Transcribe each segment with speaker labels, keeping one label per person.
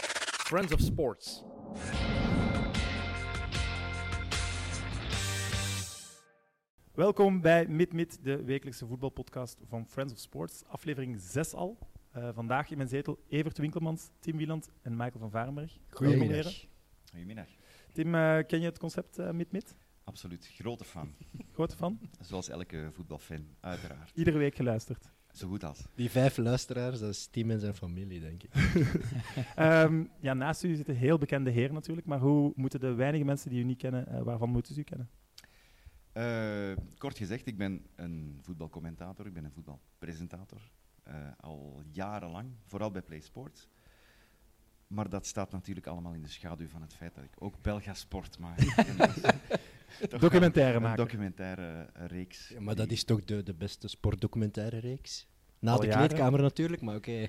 Speaker 1: Friends of Sports.
Speaker 2: Welkom bij Mid Mid, de wekelijkse voetbalpodcast van Friends of Sports, aflevering 6 al. Eh, vandaag in mijn zetel Evert Winkelmans, Tim Wieland en Michael van Varenberg.
Speaker 3: Goedemiddag.
Speaker 2: Welkom, heren.
Speaker 4: Goedemiddag.
Speaker 2: Tim, eh, ken je het concept eh, Mid Mid?
Speaker 4: Absoluut. Grote fan.
Speaker 2: Grote fan?
Speaker 4: Zoals elke voetbalfan, uiteraard.
Speaker 2: Iedere week geluisterd.
Speaker 4: Zo goed als.
Speaker 3: Die vijf luisteraars, dat is Tim en zijn familie, denk ik.
Speaker 2: Ehm, ja, naast u zitten heel bekende heren natuurlijk, maar hoe moeten de weinige mensen die u niet kennen, eh, waarvan moeten ze u kennen?
Speaker 4: Eh, kort gezegd, ik ben een voetbalcommentator, ik ben een voetbalpresentator. eh, al jarenlang, vooral bij PlaySports. Maar dat staat natuurlijk allemaal in de schaduw van het feit dat ik ook Belga Sport maak. En dat is toch
Speaker 2: Documentaire
Speaker 4: een
Speaker 2: maken.
Speaker 4: documentaire eh, reeks.
Speaker 3: maar dat
Speaker 4: die-
Speaker 3: is toch de, de beste sportdocumentaire reeks? Na
Speaker 2: Al
Speaker 3: de
Speaker 2: jaren.
Speaker 3: kleedkamer natuurlijk, maar oké.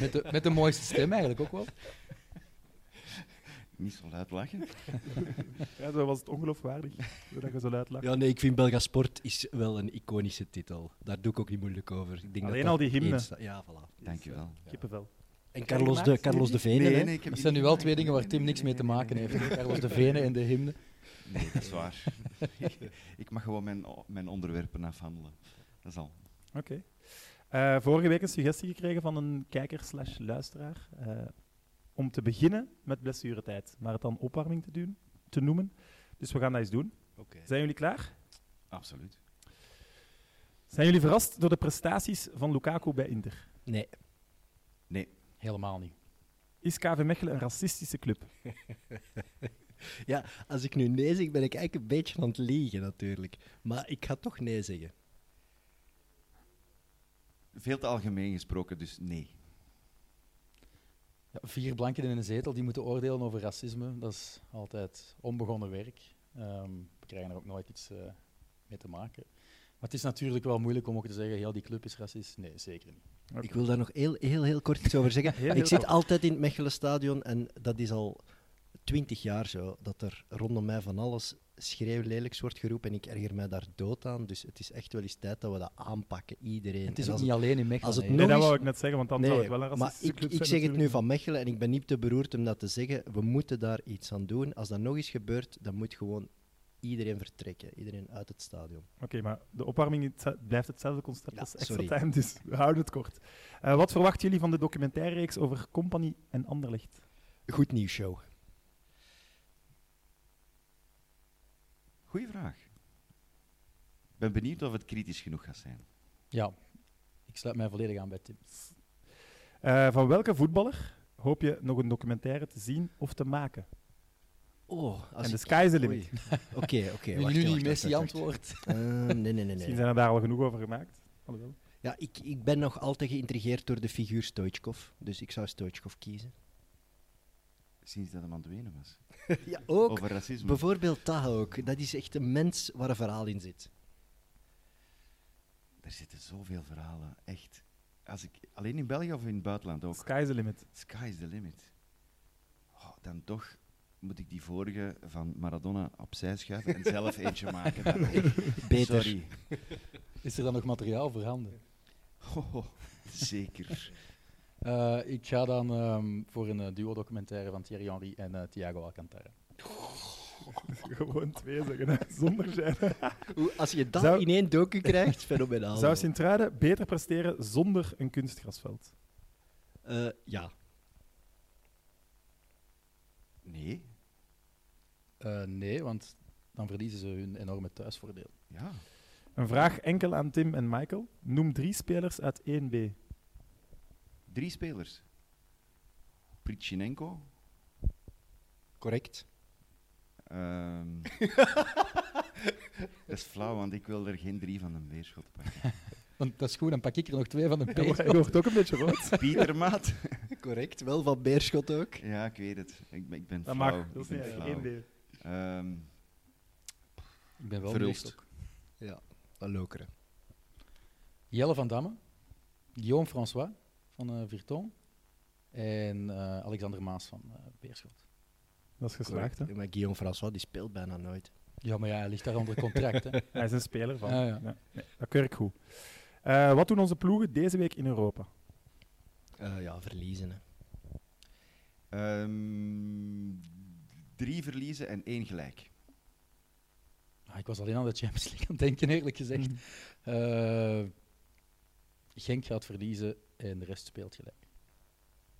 Speaker 5: Met de, met de mooiste stem eigenlijk ook wel.
Speaker 4: Niet zo luid lachen.
Speaker 2: Ja, zo was het ongeloofwaardig dat je zo luid lag.
Speaker 3: Ja, nee, ik vind Belga Sport is wel een iconische titel. Daar doe ik ook niet moeilijk over. Ik denk
Speaker 2: Alleen
Speaker 3: dat dat
Speaker 2: al die
Speaker 3: één
Speaker 2: hymne.
Speaker 3: sta- Ja, voilà.
Speaker 4: Dankjewel.
Speaker 2: Kippenvel.
Speaker 3: En Carlos de, Carlos de Venen, hè?
Speaker 4: ik heb
Speaker 5: Dat
Speaker 4: die
Speaker 5: zijn nu
Speaker 4: niet
Speaker 5: wel
Speaker 4: gemaakt.
Speaker 5: twee dingen waar
Speaker 4: Nee,
Speaker 5: Tim
Speaker 4: nee,
Speaker 5: niks
Speaker 4: nee,
Speaker 5: mee te
Speaker 4: nee,
Speaker 5: maken
Speaker 4: nee,
Speaker 5: heeft.
Speaker 4: nee,
Speaker 5: hè.
Speaker 4: nee.
Speaker 5: Carlos de Venen en de hymne.
Speaker 4: Nee, dat is waar. ik mag gewoon mijn, mijn onderwerpen afhandelen. Dat is al.
Speaker 2: Oké. Eh, vorige week een suggestie gekregen van een kijker slash luisteraar eh, om te beginnen met blessuretijd, maar het dan opwarming te, doen, te noemen. Dus we gaan dat eens doen.
Speaker 3: Oké.
Speaker 2: Zijn jullie klaar?
Speaker 4: Absoluut.
Speaker 2: Zijn jullie verrast door de prestaties van Lukaku bij Inter?
Speaker 3: Nee,
Speaker 4: Nee,
Speaker 5: Helemaal niet.
Speaker 2: Is KV Mechelen een racistische club?
Speaker 3: ja, als ik nu nee zeg, ben ik eigenlijk een beetje aan het liegen natuurlijk. Maar ik ga toch nee zeggen.
Speaker 4: veel te algemeen gesproken, dus nee.
Speaker 5: Ja, vier blanken in een zetel die moeten oordelen over racisme. Dat is altijd onbegonnen werk. Ehm, we krijgen er ook nooit iets eh, mee te maken. Maar het is natuurlijk wel moeilijk om ook te zeggen, heel die club is racist. Nee, zeker niet.
Speaker 3: Ik wil daar nog heel, heel, heel kort iets over zeggen.
Speaker 2: Heel,
Speaker 3: ik
Speaker 2: heel
Speaker 3: zit
Speaker 2: kort.
Speaker 3: altijd in het Mechelenstadion en dat is al twintig jaar zo, dat er rondom mij van alles schreeuwlelijks wordt geroepen en ik erger mij daar dood aan. Dus het is echt wel eens tijd dat we dat aanpakken, iedereen.
Speaker 5: En het is
Speaker 3: En
Speaker 5: ook
Speaker 3: als
Speaker 5: niet alleen in Mechelen.
Speaker 3: als het
Speaker 5: hè.
Speaker 2: Nee,
Speaker 3: nog
Speaker 2: dat
Speaker 3: eens-
Speaker 2: wou ik net zeggen, want dan zou het
Speaker 3: Nee,
Speaker 2: wel een
Speaker 3: maar
Speaker 2: racistische
Speaker 3: ik,
Speaker 2: club
Speaker 3: ik
Speaker 2: zijn
Speaker 3: zeg het nu
Speaker 2: natuurlijk.
Speaker 3: van Mechelen en ik ben niet te beroerd om dat te zeggen. We moeten daar iets aan doen. Als dat nog eens gebeurt, dan moet gewoon iedereen vertrekken. Iedereen uit het stadion.
Speaker 2: Oké, maar de opwarming is het- blijft hetzelfde concept
Speaker 3: Ja,
Speaker 2: als extra
Speaker 3: sorry.
Speaker 2: time, dus we houden het kort. Eh, wat verwachten jullie van de documentairereeks over Company en Anderlecht?
Speaker 3: Goed nieuws, show.
Speaker 4: Goeie vraag. Ik ben benieuwd of het kritisch genoeg gaat zijn.
Speaker 5: Ja, ik sluit mij volledig aan bij Tim.
Speaker 2: Eh, van welke voetballer hoop je nog een documentaire te zien of te maken?
Speaker 3: Oh, als
Speaker 2: en de
Speaker 3: ik-
Speaker 2: sky is the limit.
Speaker 3: Oei. Oké, oké.
Speaker 5: Wil je
Speaker 3: wacht,
Speaker 5: nu
Speaker 3: wacht,
Speaker 5: niet
Speaker 3: wacht,
Speaker 5: Messi
Speaker 3: wacht, wacht.
Speaker 5: antwoord?
Speaker 3: Eh, nee, nee, nee. nee.
Speaker 2: Misschien zijn er daar al genoeg over gemaakt. Alhoewel.
Speaker 3: Ja, ik, ik ben nog altijd geïntrigeerd door de figuur Stoichkov. Dus ik zou Stoichkov kiezen.
Speaker 4: Sinds dat hem aan het wenen was.
Speaker 3: Ja, ook.
Speaker 4: Over racisme.
Speaker 3: Bijvoorbeeld dat ook. Dat is echt een mens waar een verhaal in zit.
Speaker 4: er zitten zoveel verhalen, echt. Als ik, alleen in België of in het buitenland ook.
Speaker 2: Sky is the limit.
Speaker 4: Sky is the limit. Oh, dan toch moet ik die vorige van Maradona opzij schuiven en zelf eentje maken. Dan.
Speaker 3: Beter.
Speaker 4: Sorry.
Speaker 5: Is er dan nog materiaal voorhanden?
Speaker 4: Ho, ho, zeker.
Speaker 5: Eh, ik ga dan ehm, voor een eh, duo-documentaire van Thierry Henry en eh, Thiago Alcantara.
Speaker 2: Oh. Gewoon twee zeggen, hè, zonder zijn.
Speaker 3: Hoe- Als je dat
Speaker 2: Zou-
Speaker 3: in één docu krijgt, fenomenaal.
Speaker 2: Zou Sint-Truiden beter presteren zonder een kunstgrasveld?
Speaker 3: Eh, ja.
Speaker 4: Nee,
Speaker 5: Eh, nee, want dan verliezen ze hun enorme thuisvoordeel.
Speaker 4: ja.
Speaker 2: Een vraag enkel aan Tim en Michael. Noem drie spelers uit 1B.
Speaker 4: Drie spelers. Pritchinenko.
Speaker 3: Correct.
Speaker 4: ehm, dat is flauw, want ik wil er geen drie van een weerschot pakken.
Speaker 5: Want dat is goed, dan pak ik er nog twee van de
Speaker 2: Hij
Speaker 5: pees.
Speaker 2: wordt ook een beetje rood.
Speaker 4: Pieter Maat.
Speaker 3: Correct. Wel van Beerschot ook.
Speaker 4: Ja, ik weet het. Ik ben, ik ben
Speaker 2: Dat
Speaker 4: flauw.
Speaker 2: mag. Dat is
Speaker 4: ik ben
Speaker 2: niet erg.
Speaker 4: flauw.
Speaker 2: 1B.
Speaker 4: Ehm,
Speaker 5: Ik ben wel
Speaker 4: Verhulst.
Speaker 5: meest ook.
Speaker 3: Ja. Dat lokeren.
Speaker 5: Jelle van Damme, Guillaume François van eh Virton en eh, Alexander Maas van eh, Beerschot.
Speaker 2: Dat is geslaagd, hè?
Speaker 3: Ja, Maar Guillaume François, die speelt bijna nooit.
Speaker 5: Ja, maar ja, hij ligt daar onder contract. Hè.
Speaker 2: Hij is een speler van.
Speaker 5: Ja, ja.
Speaker 2: Nee, dat keur ik goed. Eh, wat doen onze ploegen deze week in Europa?
Speaker 3: Eh, ja, verliezen. hè.
Speaker 4: Ehm, drie verliezen en één gelijk.
Speaker 5: Ah, ik was alleen aan de Champions League aan het denken, eerlijk gezegd.
Speaker 2: Mhm.
Speaker 5: Eh, Genk gaat verliezen en de rest speelt gelijk.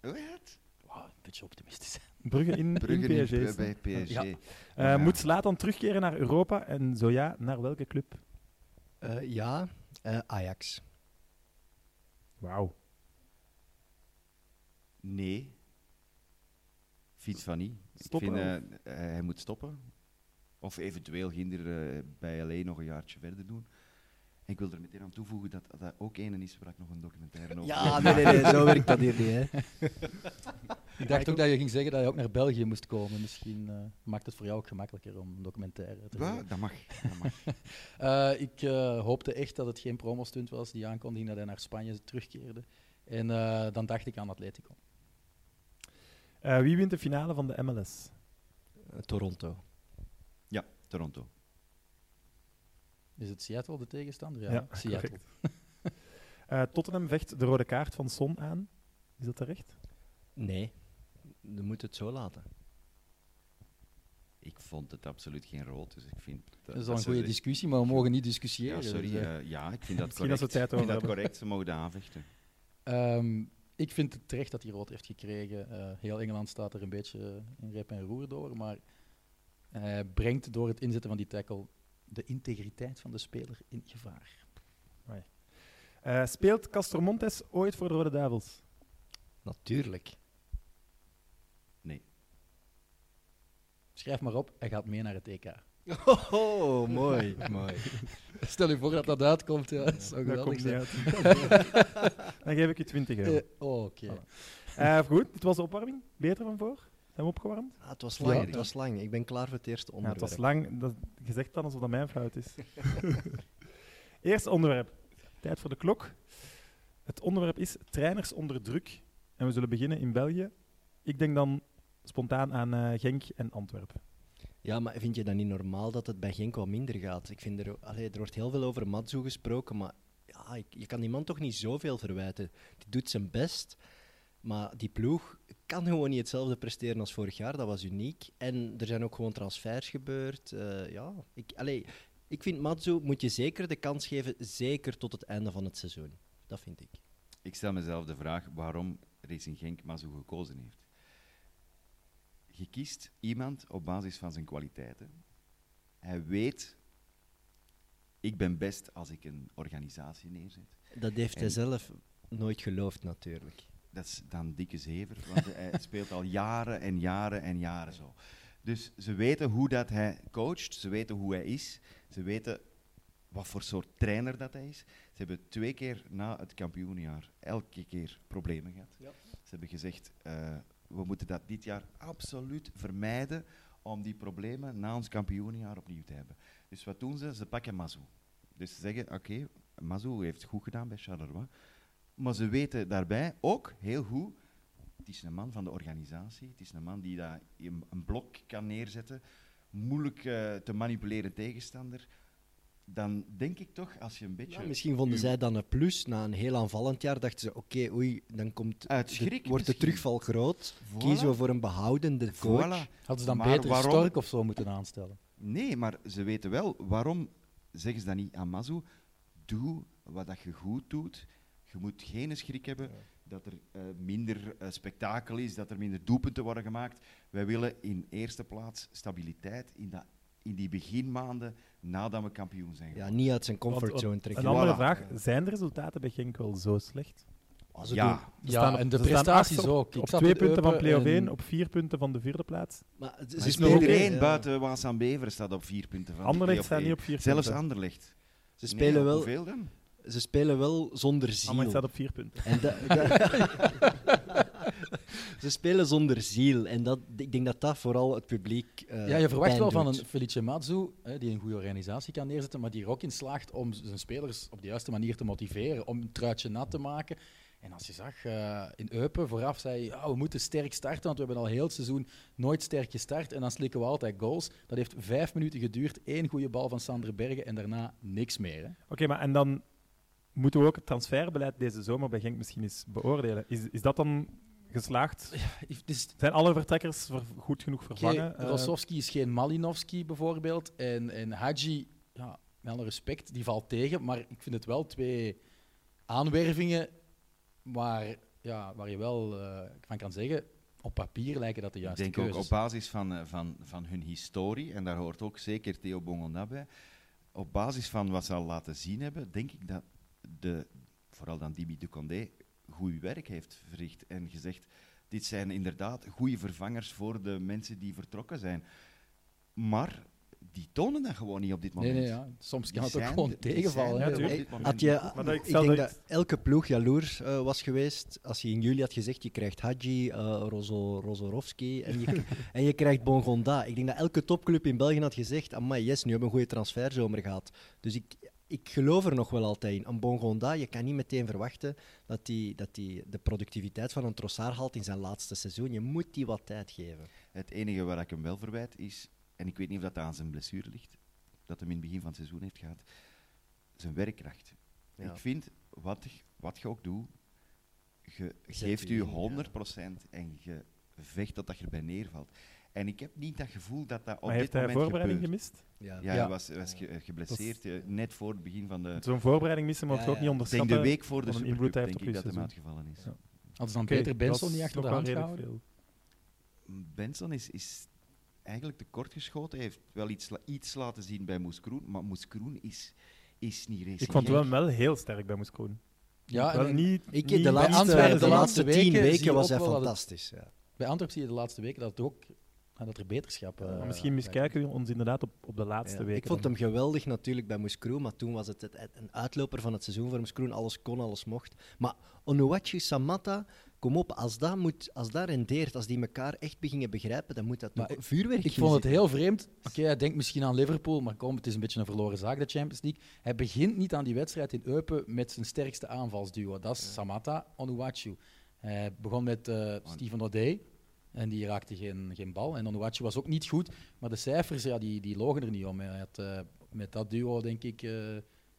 Speaker 4: Wat?
Speaker 5: Wauw, een beetje optimistisch.
Speaker 2: Brugge in,
Speaker 4: Brugge
Speaker 2: in
Speaker 4: in-
Speaker 2: PSG. is
Speaker 4: bij
Speaker 2: het, hè?
Speaker 4: PSG.
Speaker 5: Ja.
Speaker 2: Eh,
Speaker 4: Ja.
Speaker 2: Moet Zlatan terugkeren naar Europa? En zo ja, naar welke club?
Speaker 3: Eh, ja, eh, Ajax.
Speaker 2: Wauw.
Speaker 4: Nee. Fiets van niet.
Speaker 2: Stoppen
Speaker 4: Ik vind, eh, hij moet stoppen. Of eventueel Ginder eh, bij alleen nog een jaartje verder doen. En ik wil er meteen aan toevoegen dat dat ook een is waar ik nog een documentaire over
Speaker 3: Ja, nee, nee, nee, zo werkt dat hier niet. Hè.
Speaker 5: Ik dacht ook dat je ging zeggen dat je ook naar België moest komen. Misschien eh, maakt het voor jou ook gemakkelijker om een documentaire te
Speaker 4: Wat?
Speaker 5: maken.
Speaker 4: Dat mag. Dat mag.
Speaker 5: ik eh, hoopte echt dat het geen promostunt was, die aankondiging dat hij naar Spanje terugkeerde. En eh, dan dacht ik aan Atletico.
Speaker 2: Eh, wie wint de finale van de MLS?
Speaker 3: Eh, Toronto.
Speaker 4: ja, Toronto.
Speaker 5: Is het Seattle de tegenstander? Ja,
Speaker 2: Ja,
Speaker 5: Seattle.
Speaker 2: correct. Eh, Tottenham vecht de rode kaart van Son aan. Is dat terecht?
Speaker 3: Nee, je moet het zo laten.
Speaker 4: Ik vond het absoluut geen rood, dus ik vind...
Speaker 5: Dat is al een
Speaker 4: ze-
Speaker 5: goede discussie, maar we mogen niet discussiëren.
Speaker 4: Ja, sorry.
Speaker 5: Dus, eh,
Speaker 4: eh, ja, ik vind dat
Speaker 2: Misschien
Speaker 4: correct.
Speaker 2: als we tijd
Speaker 4: ik vind
Speaker 2: over
Speaker 4: dat
Speaker 2: hebben.
Speaker 4: correct. Ze mogen dat aanvechten.
Speaker 5: Ehm, ik vind het terecht dat hij rood heeft gekregen. Eh, heel Engeland staat er een beetje in rep en roer door. Maar hij brengt door het inzetten van die tackle de integriteit van de speler in gevaar.
Speaker 2: Eh, speelt Castromontes ooit voor de Rode Duivels?
Speaker 3: Natuurlijk.
Speaker 4: Nee.
Speaker 5: Schrijf maar op, hij gaat mee naar het EK.
Speaker 3: Oh, mooi, mooi.
Speaker 5: Stel je voor dat dat uitkomt. Ja, dat zou
Speaker 2: dat
Speaker 5: geweldig
Speaker 2: komt niet
Speaker 5: zijn.
Speaker 2: uit. Dan geef ik je 20 euro.
Speaker 5: Eh, oh, Oké.
Speaker 2: Voilà. Eh, goed, dit was de opwarming. Beter van voor? Zijn we opgewarmd?
Speaker 3: Ah, het was lang,
Speaker 5: Ja.
Speaker 3: het was lang. Ik ben klaar voor het eerste
Speaker 2: Ja, het
Speaker 3: onderwerp.
Speaker 2: was lang. Dat, je zegt dan alsof dat mijn fout is. Eerste onderwerp. Tijd voor de klok. Het onderwerp is trainers onder druk. En we zullen beginnen in België. Ik denk dan spontaan aan eh, Genk en Antwerpen.
Speaker 3: Ja, maar vind je dat niet normaal dat het bij Genk wat minder gaat? Ik vind er, allee, er wordt heel veel over Matsu gesproken, maar ja, ik- je kan die man toch niet zoveel verwijten. Die doet zijn best, maar die ploeg kan gewoon niet hetzelfde presteren als vorig jaar. Dat was uniek. En er zijn ook gewoon transfers gebeurd. Eh, ja, ik, allee, ik vind Matsu moet je zeker de kans geven, zeker tot het einde van het seizoen. Dat vind ik.
Speaker 4: Ik stel mezelf de vraag waarom Racing Genk Mazou gekozen heeft. Je kiest iemand op basis van zijn kwaliteiten. Hij weet, ik ben best als ik een organisatie neerzet.
Speaker 3: Dat heeft hij
Speaker 4: En-
Speaker 3: zelf nooit geloofd, natuurlijk.
Speaker 4: Dat is dan dikke zever, want hij speelt al jaren en jaren en jaren zo. Dus ze weten hoe dat hij coacht, ze weten hoe hij is, ze weten wat voor soort trainer dat hij is. Ze hebben twee keer na het kampioenjaar elke keer problemen gehad. Ze hebben gezegd, eh, we moeten dat dit jaar absoluut vermijden om die problemen na ons kampioenjaar opnieuw te hebben. Dus wat doen ze? Ze pakken Mazou. Dus ze zeggen, oké, Mazou heeft goed gedaan bij Charleroi. Maar ze weten daarbij ook heel goed, het is een man van de organisatie, het is een man die daar een, een blok kan neerzetten, moeilijk eh, te manipuleren tegenstander. Dan denk ik toch, als je een beetje...
Speaker 3: Ja, misschien vonden
Speaker 4: uw-
Speaker 3: zij dan een plus. Na een heel aanvallend jaar dachten ze: oké, oei, dan komt
Speaker 4: Uit
Speaker 3: de-
Speaker 4: schrik
Speaker 3: wordt de
Speaker 4: misschien.
Speaker 3: terugval groot.
Speaker 4: Voilà.
Speaker 3: Kiezen we voor een behoudende coach.
Speaker 4: Voilà.
Speaker 5: Hadden ze dan
Speaker 4: Maar
Speaker 5: beter
Speaker 4: waarom-
Speaker 5: Stork of zo moeten aanstellen?
Speaker 4: Nee, maar ze weten wel waarom zeggen ze dat niet aan Mazou. Doe wat dat je goed doet. Je moet geen schrik hebben dat er eh, minder eh, spektakel is, dat er minder doelpunten worden gemaakt. Wij willen in eerste plaats stabiliteit in, dat, in die beginmaanden nadat we kampioen zijn.
Speaker 3: Ja, niet uit zijn
Speaker 2: Want,
Speaker 3: comfortzone
Speaker 2: want-
Speaker 3: trekken.
Speaker 2: Een andere
Speaker 4: Voilà.
Speaker 2: vraag. Zijn de resultaten bij Genk wel zo slecht?
Speaker 4: geworden.
Speaker 3: ze
Speaker 4: ja.
Speaker 3: doen-
Speaker 2: Ze
Speaker 5: Ja,
Speaker 2: staan op-
Speaker 5: en de
Speaker 2: ze staan
Speaker 5: prestaties
Speaker 2: achtste op-
Speaker 5: ook. Ik
Speaker 2: Op
Speaker 5: zat
Speaker 2: twee
Speaker 5: met
Speaker 2: punten van
Speaker 5: Eupen
Speaker 2: play-off
Speaker 5: en-
Speaker 2: 1, op vier punten van de vierde plaats.
Speaker 3: Maar ze-
Speaker 4: Maar
Speaker 3: ze
Speaker 4: is
Speaker 3: spelen
Speaker 4: iedereen
Speaker 3: ja.
Speaker 4: buiten Waasam Bever staat op vier punten van de
Speaker 2: Anderlecht
Speaker 4: play-off
Speaker 2: staat niet
Speaker 4: één.
Speaker 2: op vier
Speaker 4: Zelfs
Speaker 2: punten.
Speaker 4: Anderlecht.
Speaker 3: Ze spelen, wel,
Speaker 4: Hoeveel dan?
Speaker 3: ze spelen wel zonder
Speaker 2: Anderlecht staat
Speaker 3: ziel.
Speaker 2: op vier punten.
Speaker 3: En dat- dat- ze spelen zonder ziel. En dat, ik denk dat dat vooral het publiek. eh,
Speaker 5: Ja, je verwacht
Speaker 3: pijn
Speaker 5: wel van
Speaker 3: doet.
Speaker 5: een Felice Mazzu, hè, die een goede organisatie kan neerzetten, maar die er ook in slaagt om z- zijn spelers op de juiste manier te motiveren, om een truitje nat te maken. En als je zag, eh, in Eupen vooraf zei je, "Ja, we moeten sterk starten, want we hebben al heel het seizoen nooit sterk gestart. En dan slikken we altijd goals. Dat heeft vijf minuten geduurd, één goede bal van Sander Bergen en daarna niks meer. Hè.
Speaker 2: Oké, maar en dan moeten we ook het transferbeleid deze zomer bij Genk misschien eens beoordelen. Is, is dat dan geslaagd?
Speaker 5: Het is,
Speaker 2: Zijn alle vertrekkers ver- goed genoeg vervangen?
Speaker 5: Oké,
Speaker 2: Eh,
Speaker 5: Rossovski is geen Malinowski bijvoorbeeld. En, en Hadji, ja, met alle respect, die valt tegen. Maar ik vind het wel twee aanwervingen waar, ja, waar je wel eh, van kan zeggen, op papier lijken dat de
Speaker 4: Ik
Speaker 5: juiste
Speaker 4: denk ook
Speaker 5: keuzes.
Speaker 4: op basis van, eh, van, van hun historie, en daar hoort ook zeker Theo Bongonda bij, op basis van wat ze al laten zien hebben, denk ik dat de, vooral dan Dibi de Condé goed werk heeft verricht en gezegd, dit zijn inderdaad goede vervangers voor de mensen die vertrokken zijn. Maar die tonen dat gewoon niet op dit
Speaker 5: nee,
Speaker 4: moment.
Speaker 5: nee, ja. Soms kan
Speaker 4: Die
Speaker 5: het ook
Speaker 4: zijn-
Speaker 5: gewoon
Speaker 4: die
Speaker 5: tegenvallen.
Speaker 4: zijn
Speaker 5: hè.
Speaker 4: er op
Speaker 2: tuurlijk.
Speaker 3: Hey,
Speaker 4: dit moment
Speaker 3: Had je,
Speaker 2: Maar dat ik
Speaker 3: ik,
Speaker 2: stel
Speaker 3: denk
Speaker 2: dat
Speaker 3: dat
Speaker 2: ik-
Speaker 3: elke ploeg jaloers eh, was geweest als je in juli had gezegd je krijgt Hadji, eh Rozo, Rozorovski en je, en je krijgt Bongonda. Ik denk dat elke topclub in België had gezegd, amai, yes, nu hebben we een goede transferzomer gehad. Dus ik, ik geloof er nog wel altijd in. Een Bongonda, je kan niet meteen verwachten dat die, dat die de productiviteit van een Trossard haalt in zijn laatste seizoen. Je moet die wat tijd geven.
Speaker 4: Het enige waar ik hem wel verwijt is, en ik weet niet of dat aan zijn blessure ligt, dat hem in het begin van het seizoen heeft gehad, zijn werkkracht.
Speaker 3: Ja.
Speaker 4: Ik vind, wat, je- wat je ook doet, je
Speaker 3: Zet
Speaker 4: geeft
Speaker 3: u in,
Speaker 4: u
Speaker 3: ja.
Speaker 4: 100% en je vecht tot dat je erbij neervalt. En ik heb niet dat gevoel dat dat op
Speaker 2: maar heeft
Speaker 4: dit
Speaker 2: hij
Speaker 4: moment
Speaker 2: voorbereiding
Speaker 4: gebeurt.
Speaker 2: gemist?
Speaker 3: Ja.
Speaker 4: Ja,
Speaker 5: Ja.
Speaker 4: hij was, hij was ge- eh, geblesseerd eh, net voor het begin van de...
Speaker 2: Zo'n voorbereiding missen mag
Speaker 3: Ja,
Speaker 2: je ook
Speaker 3: ja.
Speaker 2: niet
Speaker 4: Ik denk de
Speaker 2: onderschatten.
Speaker 4: week voor de
Speaker 2: wat een invloed
Speaker 4: Supercup,
Speaker 2: hij
Speaker 4: denk
Speaker 2: heeft
Speaker 4: ik dat
Speaker 2: op
Speaker 4: hem
Speaker 2: uw
Speaker 4: uitgevallen is.
Speaker 2: Ja.
Speaker 5: Hadden ze dan
Speaker 2: Oké,
Speaker 5: Peter Benson
Speaker 2: dat
Speaker 5: niet
Speaker 2: is
Speaker 5: achter de
Speaker 2: nog wel
Speaker 5: hand
Speaker 2: redelijk
Speaker 5: gehouden?
Speaker 2: veel.
Speaker 4: Benson is, is eigenlijk tekortgeschoten. Hij heeft wel iets, la- iets laten zien bij Moeskroen, maar Moeskroen is, is niet racing.
Speaker 2: Ik vond
Speaker 4: Genk.
Speaker 2: hem wel heel sterk bij Moeskroen.
Speaker 5: Ja, en-
Speaker 2: wel niet,
Speaker 3: Ik,
Speaker 2: niet
Speaker 3: de laatste,
Speaker 5: Antwerpen
Speaker 3: de
Speaker 5: de
Speaker 3: laatste
Speaker 5: laatste weken
Speaker 3: tien
Speaker 5: zie je
Speaker 3: weken was
Speaker 5: ook
Speaker 3: hij
Speaker 5: wel dat het-
Speaker 3: fantastisch. Ja.
Speaker 5: Bij Antwerpen zie je de laatste weken dat, het ook, ah, dat er beterschap... eh,
Speaker 2: Maar misschien miskijken we ons inderdaad op, op de laatste
Speaker 3: Ja,
Speaker 2: weken.
Speaker 3: Ik vond
Speaker 2: dan.
Speaker 3: hem geweldig natuurlijk bij Moeskroen, maar toen was het, het- het- een uitloper van het seizoen voor Moeskroen. Alles kon, alles mocht. Maar Onuwachu, Samatta, kom op, als dat, moet, als dat rendeert, als die elkaar echt beginnen begrijpen, dan moet dat
Speaker 5: Maar
Speaker 3: toch
Speaker 5: Ik
Speaker 3: vuurwerk in
Speaker 5: vond het
Speaker 3: zitten.
Speaker 5: heel vreemd. Oké, hij denkt misschien aan Liverpool, maar kom, het is een beetje een verloren zaak, de Champions League. Hij begint niet aan die wedstrijd in Eupen met zijn sterkste aanvalsduo. Dat is Samatta Onuachu. Hij begon met eh Steven O'Day en die raakte geen, geen bal. En Onuachu was ook niet goed, maar de cijfers ja, die, die logen er niet om. Hij had eh, met dat duo, denk ik, eh,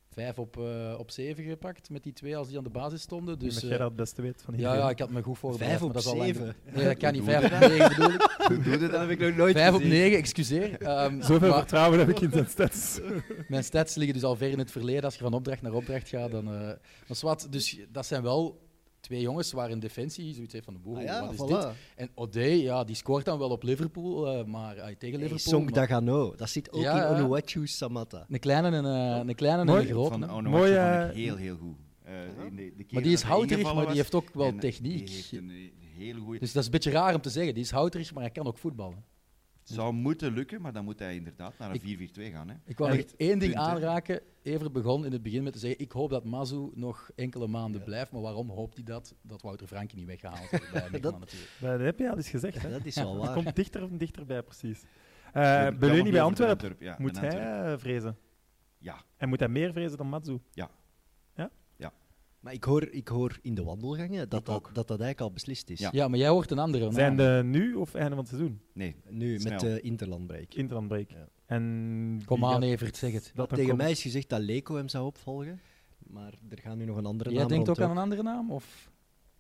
Speaker 5: vijf op, eh, op zeven gepakt met die twee als die aan de basis stonden.
Speaker 2: Ik denk
Speaker 5: Dus,
Speaker 2: dat jij
Speaker 5: eh,
Speaker 2: dat het beste weet van
Speaker 5: ja,
Speaker 2: iedereen.
Speaker 5: ja, ik had me goed voorbereid.
Speaker 3: Vijf
Speaker 5: maar
Speaker 3: op
Speaker 5: dat is al lang-
Speaker 3: zeven.
Speaker 5: Nee, dat kan niet.
Speaker 4: Hoe doe
Speaker 5: Vijf op negen bedoel ik.
Speaker 4: Hoe doe je dat? heb ik nog nooit
Speaker 5: Vijf op
Speaker 4: gezien.
Speaker 5: negen, excuseer. Ehm,
Speaker 2: Zoveel
Speaker 5: maar
Speaker 2: vertrouwen heb ik in zijn stats.
Speaker 5: mijn stats liggen dus al ver in het verleden. Als je van opdracht naar opdracht gaat, dan... eh maar zwart, dus dat zijn wel twee jongens waar in defensie zoiets heeft van de boer.
Speaker 3: Ah ja,
Speaker 5: wat is dit?
Speaker 3: voilà.
Speaker 5: En O'Day, ja, die scoort dan wel op Liverpool, eh, maar ah, tegen
Speaker 3: Hey,
Speaker 5: Liverpool.
Speaker 3: Song
Speaker 5: maar
Speaker 3: Dagano, dat zit ook
Speaker 5: Ja, ja.
Speaker 3: in Onuwachu, Samatta.
Speaker 5: een kleine en eh, een, kleine en
Speaker 2: Mooi.
Speaker 5: een grote.
Speaker 4: Van
Speaker 5: hè.
Speaker 4: Onoachi
Speaker 2: Mooi,
Speaker 4: vond
Speaker 2: eh,
Speaker 4: ik heel, heel goed. Eh, in de- de keer
Speaker 5: Maar
Speaker 4: dat
Speaker 5: die is
Speaker 4: hij
Speaker 5: houterig,
Speaker 4: ingevallen
Speaker 5: maar die
Speaker 4: was,
Speaker 5: heeft ook wel
Speaker 4: en
Speaker 5: techniek.
Speaker 4: Die heeft een eh, hele goede...
Speaker 5: Dus dat is een beetje raar om te zeggen. Die is houterig, maar hij kan ook voetballen.
Speaker 4: zou moeten lukken, maar dan moet hij inderdaad naar
Speaker 5: Ik- Eh,
Speaker 4: een 4-4-2 gaan. Hè.
Speaker 5: Ik wou nog
Speaker 4: Echt,
Speaker 5: één ding
Speaker 4: punt, hè.
Speaker 5: aanraken. Evert begon in het begin met te zeggen: Ik hoop dat Mazu nog enkele maanden blijft. Maar waarom hoopt hij dat? Dat Wouter Franke niet weggehaald wordt bij Mechelen
Speaker 3: Dat-
Speaker 5: natuurlijk.
Speaker 2: Dat heb je al eens gezegd. Hè?
Speaker 3: Dat is wel
Speaker 2: Het
Speaker 3: waar.
Speaker 2: komt dichter en dichterbij, precies.
Speaker 4: Ik
Speaker 2: Eh
Speaker 4: kan nog
Speaker 2: Beleunie
Speaker 4: niet
Speaker 2: bij
Speaker 4: over de
Speaker 2: Antwerpen.
Speaker 4: ja,
Speaker 2: Moet
Speaker 4: bij
Speaker 2: hij
Speaker 4: Antwerpen.
Speaker 2: eh, vrezen?
Speaker 4: Ja,
Speaker 2: En moet hij meer vrezen dan Matsu?
Speaker 3: Maar ik hoor, ik hoor in de wandelgangen dat
Speaker 4: Ik
Speaker 3: dat,
Speaker 4: ook.
Speaker 3: dat dat eigenlijk al beslist is.
Speaker 4: Ja.
Speaker 5: Ja, maar jij hoort een andere. naam.
Speaker 2: Zijn de nu of einde van het seizoen?
Speaker 4: nee.
Speaker 3: Nu,
Speaker 4: Snel.
Speaker 3: met de interlandbreak.
Speaker 2: Interlandbreak.
Speaker 3: Ja.
Speaker 2: En wie
Speaker 5: Kom aan,
Speaker 2: gaat-
Speaker 5: Evert, zeg het.
Speaker 2: dat dan
Speaker 3: Tegen
Speaker 2: komen?
Speaker 3: mij is gezegd dat Leko hem zou opvolgen. Maar er gaan nu nog een andere
Speaker 5: Jij
Speaker 3: naam
Speaker 5: denkt
Speaker 3: rond,
Speaker 5: ook
Speaker 3: hoor.
Speaker 5: aan een andere naam? Of?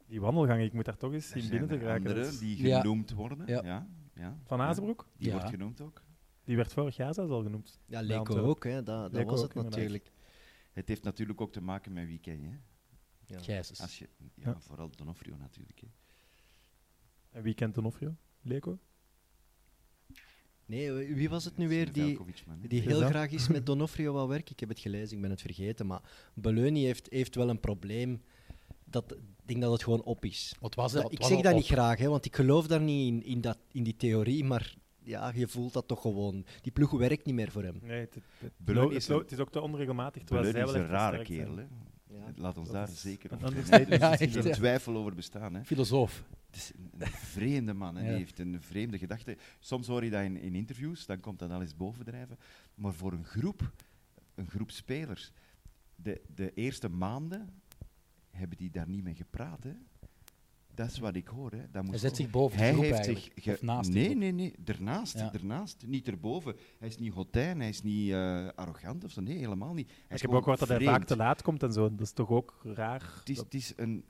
Speaker 2: Die wandelgang, ik moet daar toch eens
Speaker 4: Er
Speaker 2: zien
Speaker 4: zijn
Speaker 2: binnen te
Speaker 4: er
Speaker 2: geraken. Dat
Speaker 4: anderen
Speaker 2: is-
Speaker 4: die
Speaker 5: Ja.
Speaker 4: genoemd worden.
Speaker 5: Ja.
Speaker 4: Ja. Ja,
Speaker 2: Van Azenbroek,
Speaker 4: Die
Speaker 5: Ja.
Speaker 4: wordt genoemd ook.
Speaker 2: die werd vorig jaar zelfs al genoemd.
Speaker 3: Ja,
Speaker 2: bij
Speaker 3: Leko
Speaker 2: Antwerpen.
Speaker 3: ook, hè. dat, dat
Speaker 2: Leko
Speaker 3: was
Speaker 2: ook,
Speaker 3: het natuurlijk.
Speaker 4: Het heeft natuurlijk ook te maken met wie ken je. hè.
Speaker 3: Ja.
Speaker 5: Jezus.
Speaker 4: Als je ja,
Speaker 2: Ja.
Speaker 4: Vooral Donofrio natuurlijk. Hè.
Speaker 2: En wie kent Donofrio? Leko?
Speaker 3: Nee, wie wie was het nu weer die,
Speaker 4: Velkovic, man, hè.
Speaker 3: die
Speaker 2: Is
Speaker 3: heel
Speaker 2: dat-
Speaker 3: graag is met Donofrio wou werken? Ik heb het gelezen, ik ben het vergeten. Maar Beleuni heeft, heeft wel een probleem. Dat, ik denk dat het gewoon op is.
Speaker 5: Wat was
Speaker 3: Dat-
Speaker 5: het?
Speaker 3: ik zeg dat niet graag, hè, want ik geloof daar niet in, in, dat, in die theorie. Maar ja, je voelt dat toch gewoon. Die ploeg werkt niet meer voor hem.
Speaker 2: Nee, het, het, het,
Speaker 4: Beleun
Speaker 2: lo-
Speaker 4: is
Speaker 2: het lo-
Speaker 4: een-
Speaker 2: het is ook te onregelmatig. Terwijl
Speaker 4: Beleun
Speaker 2: zij
Speaker 4: is
Speaker 2: wel
Speaker 4: een
Speaker 2: echt
Speaker 4: rare
Speaker 2: sterk zijn.
Speaker 4: kerel. hè.
Speaker 3: Ja.
Speaker 4: Laat ons
Speaker 2: Dat
Speaker 4: daar
Speaker 2: is
Speaker 4: zeker
Speaker 2: een
Speaker 4: over zijn.
Speaker 2: understatement.
Speaker 4: Dus
Speaker 5: Ja,
Speaker 4: er is
Speaker 5: echt, ja.
Speaker 4: een twijfel over bestaan. Hè.
Speaker 5: Filosoof.
Speaker 4: Het is een een vreemde man, hè.
Speaker 5: Ja.
Speaker 4: die heeft een vreemde gedachte. Soms hoor je dat in, in interviews, dan komt dat al eens bovendrijven. Maar voor een groep, een groep spelers, de, de eerste maanden hebben die daar niet mee gepraat. Hè. Dat is wat ik hoor. Hè. Dat
Speaker 5: Hij
Speaker 4: moest
Speaker 5: zet zich boven de
Speaker 4: hij
Speaker 5: groep
Speaker 4: heeft zich
Speaker 5: eigenlijk.
Speaker 4: ge-
Speaker 5: Of naast de
Speaker 4: nee,
Speaker 5: groep.
Speaker 4: nee, nee, daarnaast,
Speaker 5: Ja.
Speaker 4: daarnaast, niet erboven. Hij is niet hotijn, hij is niet eh, arrogant of zo. Nee, helemaal niet. Hij
Speaker 2: Ik
Speaker 4: is
Speaker 2: heb
Speaker 4: gewoon
Speaker 2: ook gehoord dat hij
Speaker 4: vreemd.
Speaker 2: vaak te laat komt en zo. Dat is toch ook raar.
Speaker 4: Het is, het is een